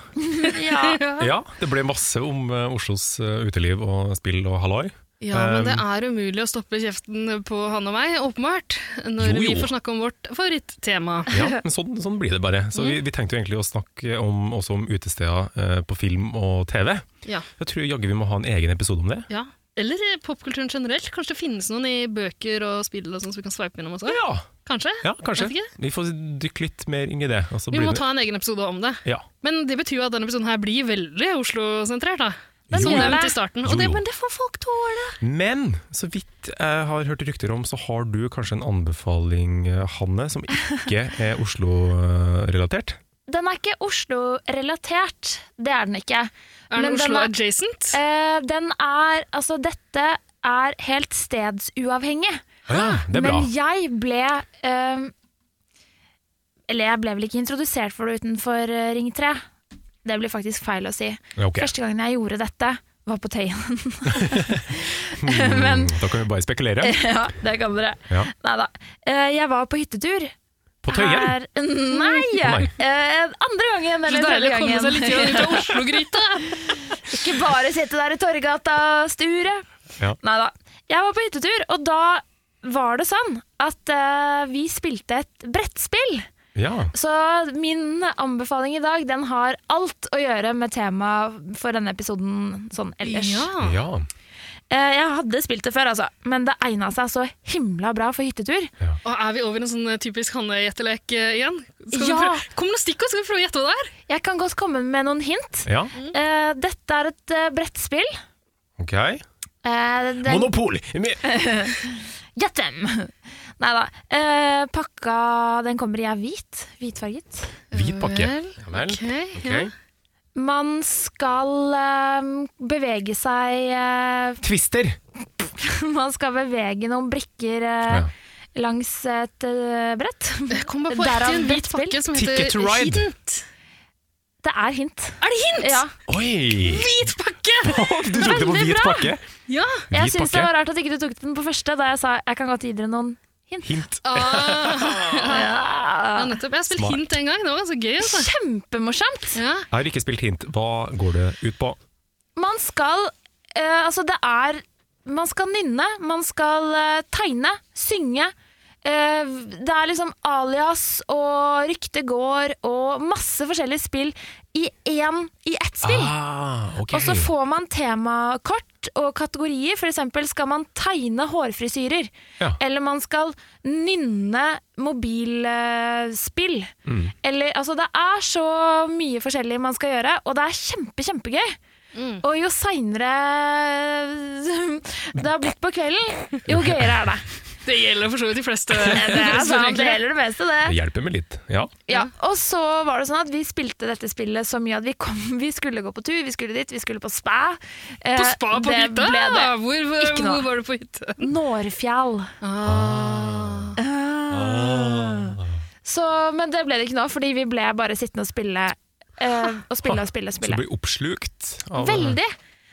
Ja.
Ja, det ble masse om eh, Oslos eh, uteliv og spill og halloi.
Ja, men det er umulig å stoppe kjeften på han og meg, åpenbart, når
Jo, jo.
vi får snakke om vårt favorittema.
Ja, men sånn, sånn blir det bare. Så
Mm.
vi, vi tenkte jo egentlig å snakke om, også om utesteder eh, på film og TV.
Ja.
Jeg tror jaggu vi må ha en egen episode om det.
Ja. Eller i popkulturen generelt. Kanskje det finnes noen i bøker og spill og sånn som vi kan sveipe innom også?
Ja,
Kanskje?
ja kanskje.
Vet ikke.
Vi får dykke litt mer inn i det. og så
Vi
blir
må
det-
ta en egen episode om det.
ja.
Men det betyr jo at denne episoden her blir veldig Oslo-sentrert, da.
Den
Jo,
Som
gjør
nevnt
det.
i starten.
Jo,
Og det,
jo.
men det får folk tåle.
Men så vidt jeg har hørt rykter om, så har du kanskje en anbefaling, eh, Hanne, som ikke er Oslo-relatert.
Den er ikke Oslo-relatert. Det er den ikke.
Er den
Men den
Oslo
er-
adjacent?
Eh, den er Altså, dette er helt stedsuavhengig.
Ja, det er bra.
Men jeg ble eh, Eller jeg ble vel ikke introdusert for det utenfor eh, Ring 3. Det blir faktisk feil å si.
Ja, ok.
Første gangen jeg gjorde dette, var på Tøyen.
Mm,
men-
da kan vi bare spekulere.
ja, det kan dere.
Ja.
Nei da. Eh, jeg var på hyttetur.
På Tøyen?
Her- Nei!
Nei.
Eh, andre gangen
Så
eller
deilig
tredje
å komme seg
gangen.
litt grann ut av Oslo-gryta!
Ikke bare sitte der i Torgata og sture.
Ja.
Nei da. Jeg var på hyttetur, og da var det sånn at eh, vi spilte et brettspill.
Ja.
Så min anbefaling i dag, den har alt å gjøre med temaet for denne episoden sånn ellers.
Ja.
ja.
Eh, jeg hadde spilt det før, altså, men det egna seg så himla bra for hyttetur.
Og er vi over en sånn eh, typisk Hanne-gjettelek eh, igjen? Skal vi
Ja.
prøve- Kom med noen stikkord, skal vi prøve å gjette hva det er?
Jeg kan godt komme med noen hint.
ja.
Eh, dette er et eh, brettspill.
Ok.
Eh, det-
Monopol! Men-
Get them! Nei da. Eh, pakka den kommer i er hvit. Hvitfarget.
Hvit pakke.
Vel,
Ja vel.
Ok, ja.
Ok.
Man skal eh, bevege seg eh,
Twister!
Man skal bevege noen brikker eh,
Ja.
langs et eh, brett.
Jeg kom bare på
Derav
ett i en hvit
brettspill.
pakke som heter
Ticket to ride.
Hident.
Det er hint.
Er det hint?
Ja.
Oi!
Hvit pakke!
Du tok det på
Veldig
hvit
bra!
pakke?
Ja.
Jeg
Hvit
syns det
pakke.
var rart at ikke du tok den på første, da jeg sa jeg kan godt gi dere noen hint.
Hint.
Ah. Ja, nettopp. Jeg har spilt
Smart.
hint en gang. Det var ganske gøy. Altså.
Kjempemorsomt!
Ja.
Jeg har ikke spilt hint. Hva går det ut på?
Man skal eh, Altså, det er Man skal nynne, man skal eh, tegne, synge. Eh, det er liksom alias og rykte går og masse forskjellige spill i én i ett spill.
Ah, ok.
Og så får man temakort og kategorier. For eksempel skal man tegne hårfrisyrer.
Ja.
Eller man skal nynne mobilspill. Eller, altså, det er så mye forskjellig man skal gjøre, og det er kjempe, kjempegøy.
Mm.
Og jo seinere det har blitt på kvelden, jo gøyere er det.
Det gjelder for så vidt de fleste.
Det er sant, det
egentlig.
gjelder det meste, det.
Det hjelper med litt. Ja.
Ja, og så var det sånn at vi spilte dette spillet så mye at vi, kom, vi skulle gå på tur, vi skulle dit, vi skulle på spa. Eh,
På spa på
det
hytta? Ah,
ble det.
Hvor, hvor,
Ikke noe.
hvor var du på hytta?
Nårfjell.
Ah.
Ah. Så, men det ble det ikke nå, fordi vi ble bare sittende og spille. eh, og spille og spille og
Så du
spille.
blir oppslukt av
Veldig!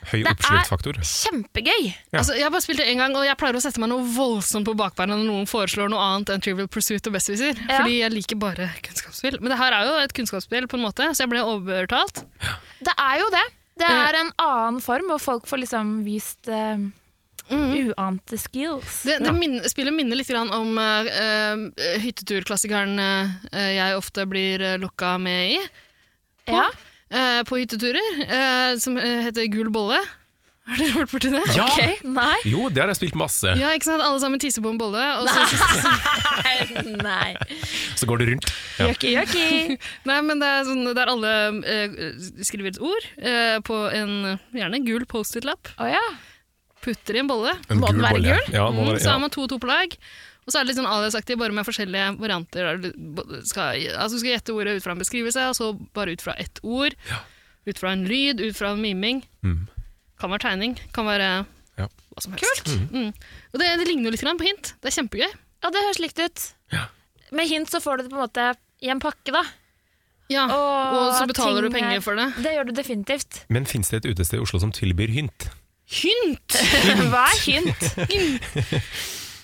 høy
er-
oppsluktfaktor.
Kjempegøy!
Ja.
Altså, jeg har bare spilt det en gang, og jeg pleier å sette meg noe voldsomt på bakbeina når noen foreslår noe annet enn Trivial Pursuit og Besserwisser.
Ja.
Fordi jeg liker bare kunnskapsspill. Men det her er jo et kunnskapsspill, på en måte, så jeg ble overtalt.
Det er jo det. Det er en annen form, og folk får liksom vist eh, uante skills.
Det, det min, spillet minner litt grann om eh, eh, hytteturklassikeren eh, jeg ofte blir eh, lokka med i.
Ja.
eh, på hytteturer, eh, som eh, heter Gul bolle. Har dere hørt borti det?
Ja!
Ok, Nei.
Jo, det har jeg spilt masse.
Ja, ikke sant? Alle sammen tisser på en bolle. Og så,
Nei.
Så går det rundt. Ja.
Yucky, yucky.
nei, men det er sånn der alle eh, skriver et ord eh, på en gjerne gul Post-It-lapp,
Å ja.
putter i en bolle,
En
Må den være
bolle.
gul?
Ja, må
mm,
være,
så
ja.
er man to og to på lag. Og så er det litt sånn aliasaktig, bare med forskjellige varianter. der Du bo- skal, altså du skal gjette ordet ut fra en beskrivelse, og så bare ut fra ett ord. Ut fra en lyd, ut fra en miming.
Mm.
Kan være tegning, kan være
Ja.
hva som helst. Kult! Mm. Og det, det ligner jo litt grann på hint. Det er kjempegøy.
Ja, det høres likt ut.
Ja.
Med hint så får du det på en måte i en pakke, da.
Ja,
Ah. Og
og så
at
betaler du
ting er-
penger for det.
Det gjør du definitivt.
Men fins det et utested i Oslo som tilbyr hynt?
Hynt!
Hva er hynt?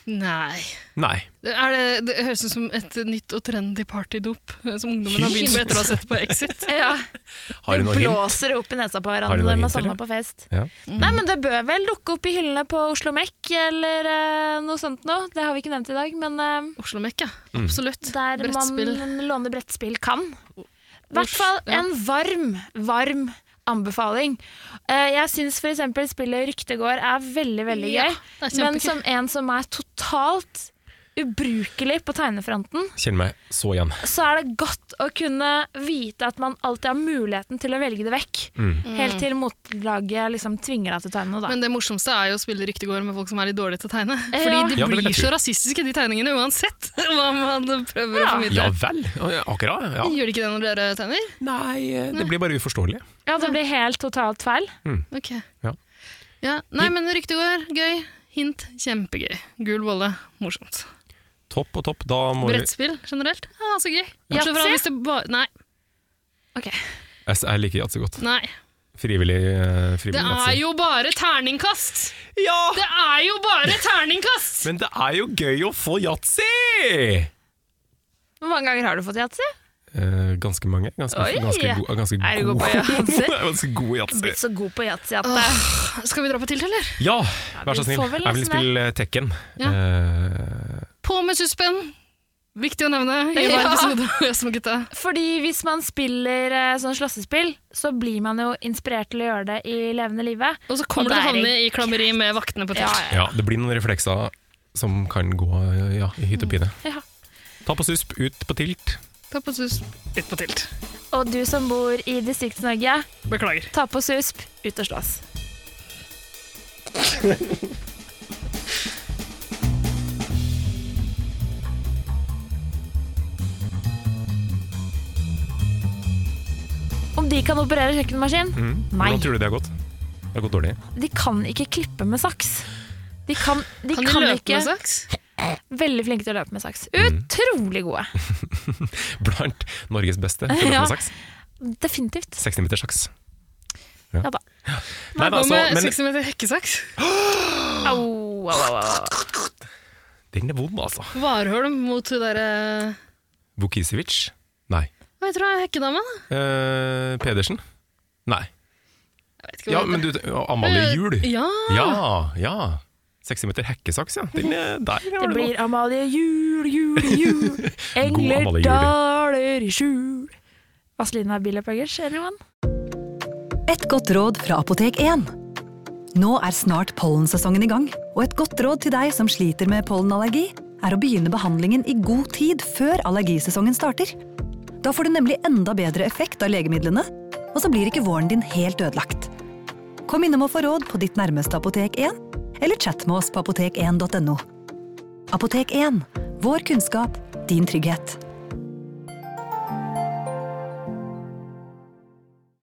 Nei.
Nei.
Det, er det, det høres ut som et nytt og trendy partydop eh, som ungdommen har begynt med etter å ha sett på Exit.
Ja,
Har du noe hint?
blåser opp i nesa på
Har du
hverandre
noe
når man
hint, eller?
samler på fest. Mm.
Ja.
Nei, men det bør vel dukke opp i hyllene på Oslo Mek eller eh, noe sånt noe. Det har vi ikke nevnt i dag, men eh,
Oslo Mekk, ja.
Mm.
Absolutt.
der
Brettspill.
man låner brettspill kan. I hvert fall
ja.
en varm, varm anbefaling. Eh, jeg syns f.eks. spillet Ryktegård er veldig, veldig
Ja,
gøy.
det er
men
kjempegøy.
som en som er totalt ubrukelig på tegnefronten,
Kjenner meg så igjen.
så er det godt å kunne vite at man alltid har muligheten til å velge det vekk. Helt til motlaget liksom tvinger deg til å tegne noe, da.
Men det morsomste er jo å spille ryktegård med folk som er litt dårlige til å tegne.
Ja.
Fordi de
Ja, det vil jeg
blir så
tro.
rasistiske, de tegningene, uansett hva man prøver å formidle.
Ja vel? Ja, Akkurat? Ja.
Gjør de ikke det når dere tegner?
Nei, eh, det blir bare uforståelig.
ja, det blir helt totalt feil.
Ok.
Ja.
Ja, Nei, men ryktegård, gøy. Hint, kjempegøy. Gul bolle, morsomt.
Topp og topp. Da må vi
Brettspill generelt, ja, så gøy.
Yatzy?
Bortsett fra hvis det bare Nei.
Jeg jeg liker yatzy godt.
nei.
Frivillig, eh, frivillig
Det er
yatzy.
jo bare terningkast!
Ja!
Det er jo bare terningkast!
Men det er jo gøy å få yatzy!
Hvor mange ganger har du fått yatzy?
Eh, ganske mange. Ganske,
Oi.
ganske, go ganske
Er du god på yatzy?
ganske god yatzy.
Blitt så god på yatzy at det
Skal vi dra på til, eller?
Ja, vær
vi
så snill.
får vel
Jeg vil
nesten
spille Tekken.
Ja.
Eh,
På med suspenn! Viktig å nevne i hver
Ja.
episode av Jazz med gutta.
Fordi hvis man spiller eh, sånn slåssespill, så blir man jo inspirert til å gjøre det i levende livet.
Og så kommer
Og det
du til å
er
havne i klammeri med vaktene på teltet.
ja, det blir noen reflekser som kan gå ja, i hytt og pine.
Mm. Ja.
Ta på susp, ut på tilt.
Ta på sus, ut på tilt.
Og du som bor i Distrikts-Norge,
Beklager.
ta på susp, ut og slåss. Om de kan operere kjøkkenmaskin? Nei.
Mm. Hvordan tror du det har gått? Det har gått dårlig.
De kan ikke klippe med saks. De kan, de
Kan
kan,
de løpe
ikke
med saks?
Veldig flinke til å løpe med saks. Utrolig gode.
Blant Norges beste. til å løpe
Ja.
med saks.
Definitivt.
Seks timer til sjaks.
Ja da.
Nei, da,
Hva
altså,
med
men
60 meter hekkesaks?
Au, au, au, au.
den er vond, altså.
Varholm mot hun derre
Vukisevic? Nei.
Hva heter hun hekkedama? da?
Eh, Pedersen? Nei.
Jeg vet ikke hva
Ja,
hun
men
heter.
du, Amalie
Eh,
Juel.
Ja.
Ja, ja. Seks meter hekkesaks, ja. Den er der.
Det blir Amalie jul, jul, jul.
God
Engler
Amalie Jul.
daler i skjul. Vazelina Billapphuggers, anyone?
Et godt råd fra Apotek 1. Nå er snart pollensesongen i gang, og et godt råd til deg som sliter med pollenallergi, er å begynne behandlingen i god tid før allergisesongen starter. Da får du nemlig enda bedre effekt av legemidlene, og så blir ikke våren din helt ødelagt. Kom innom og få råd på ditt nærmeste Apotek 1, eller chat med oss på apotek1.no. Apotek 1 vår kunnskap, din trygghet.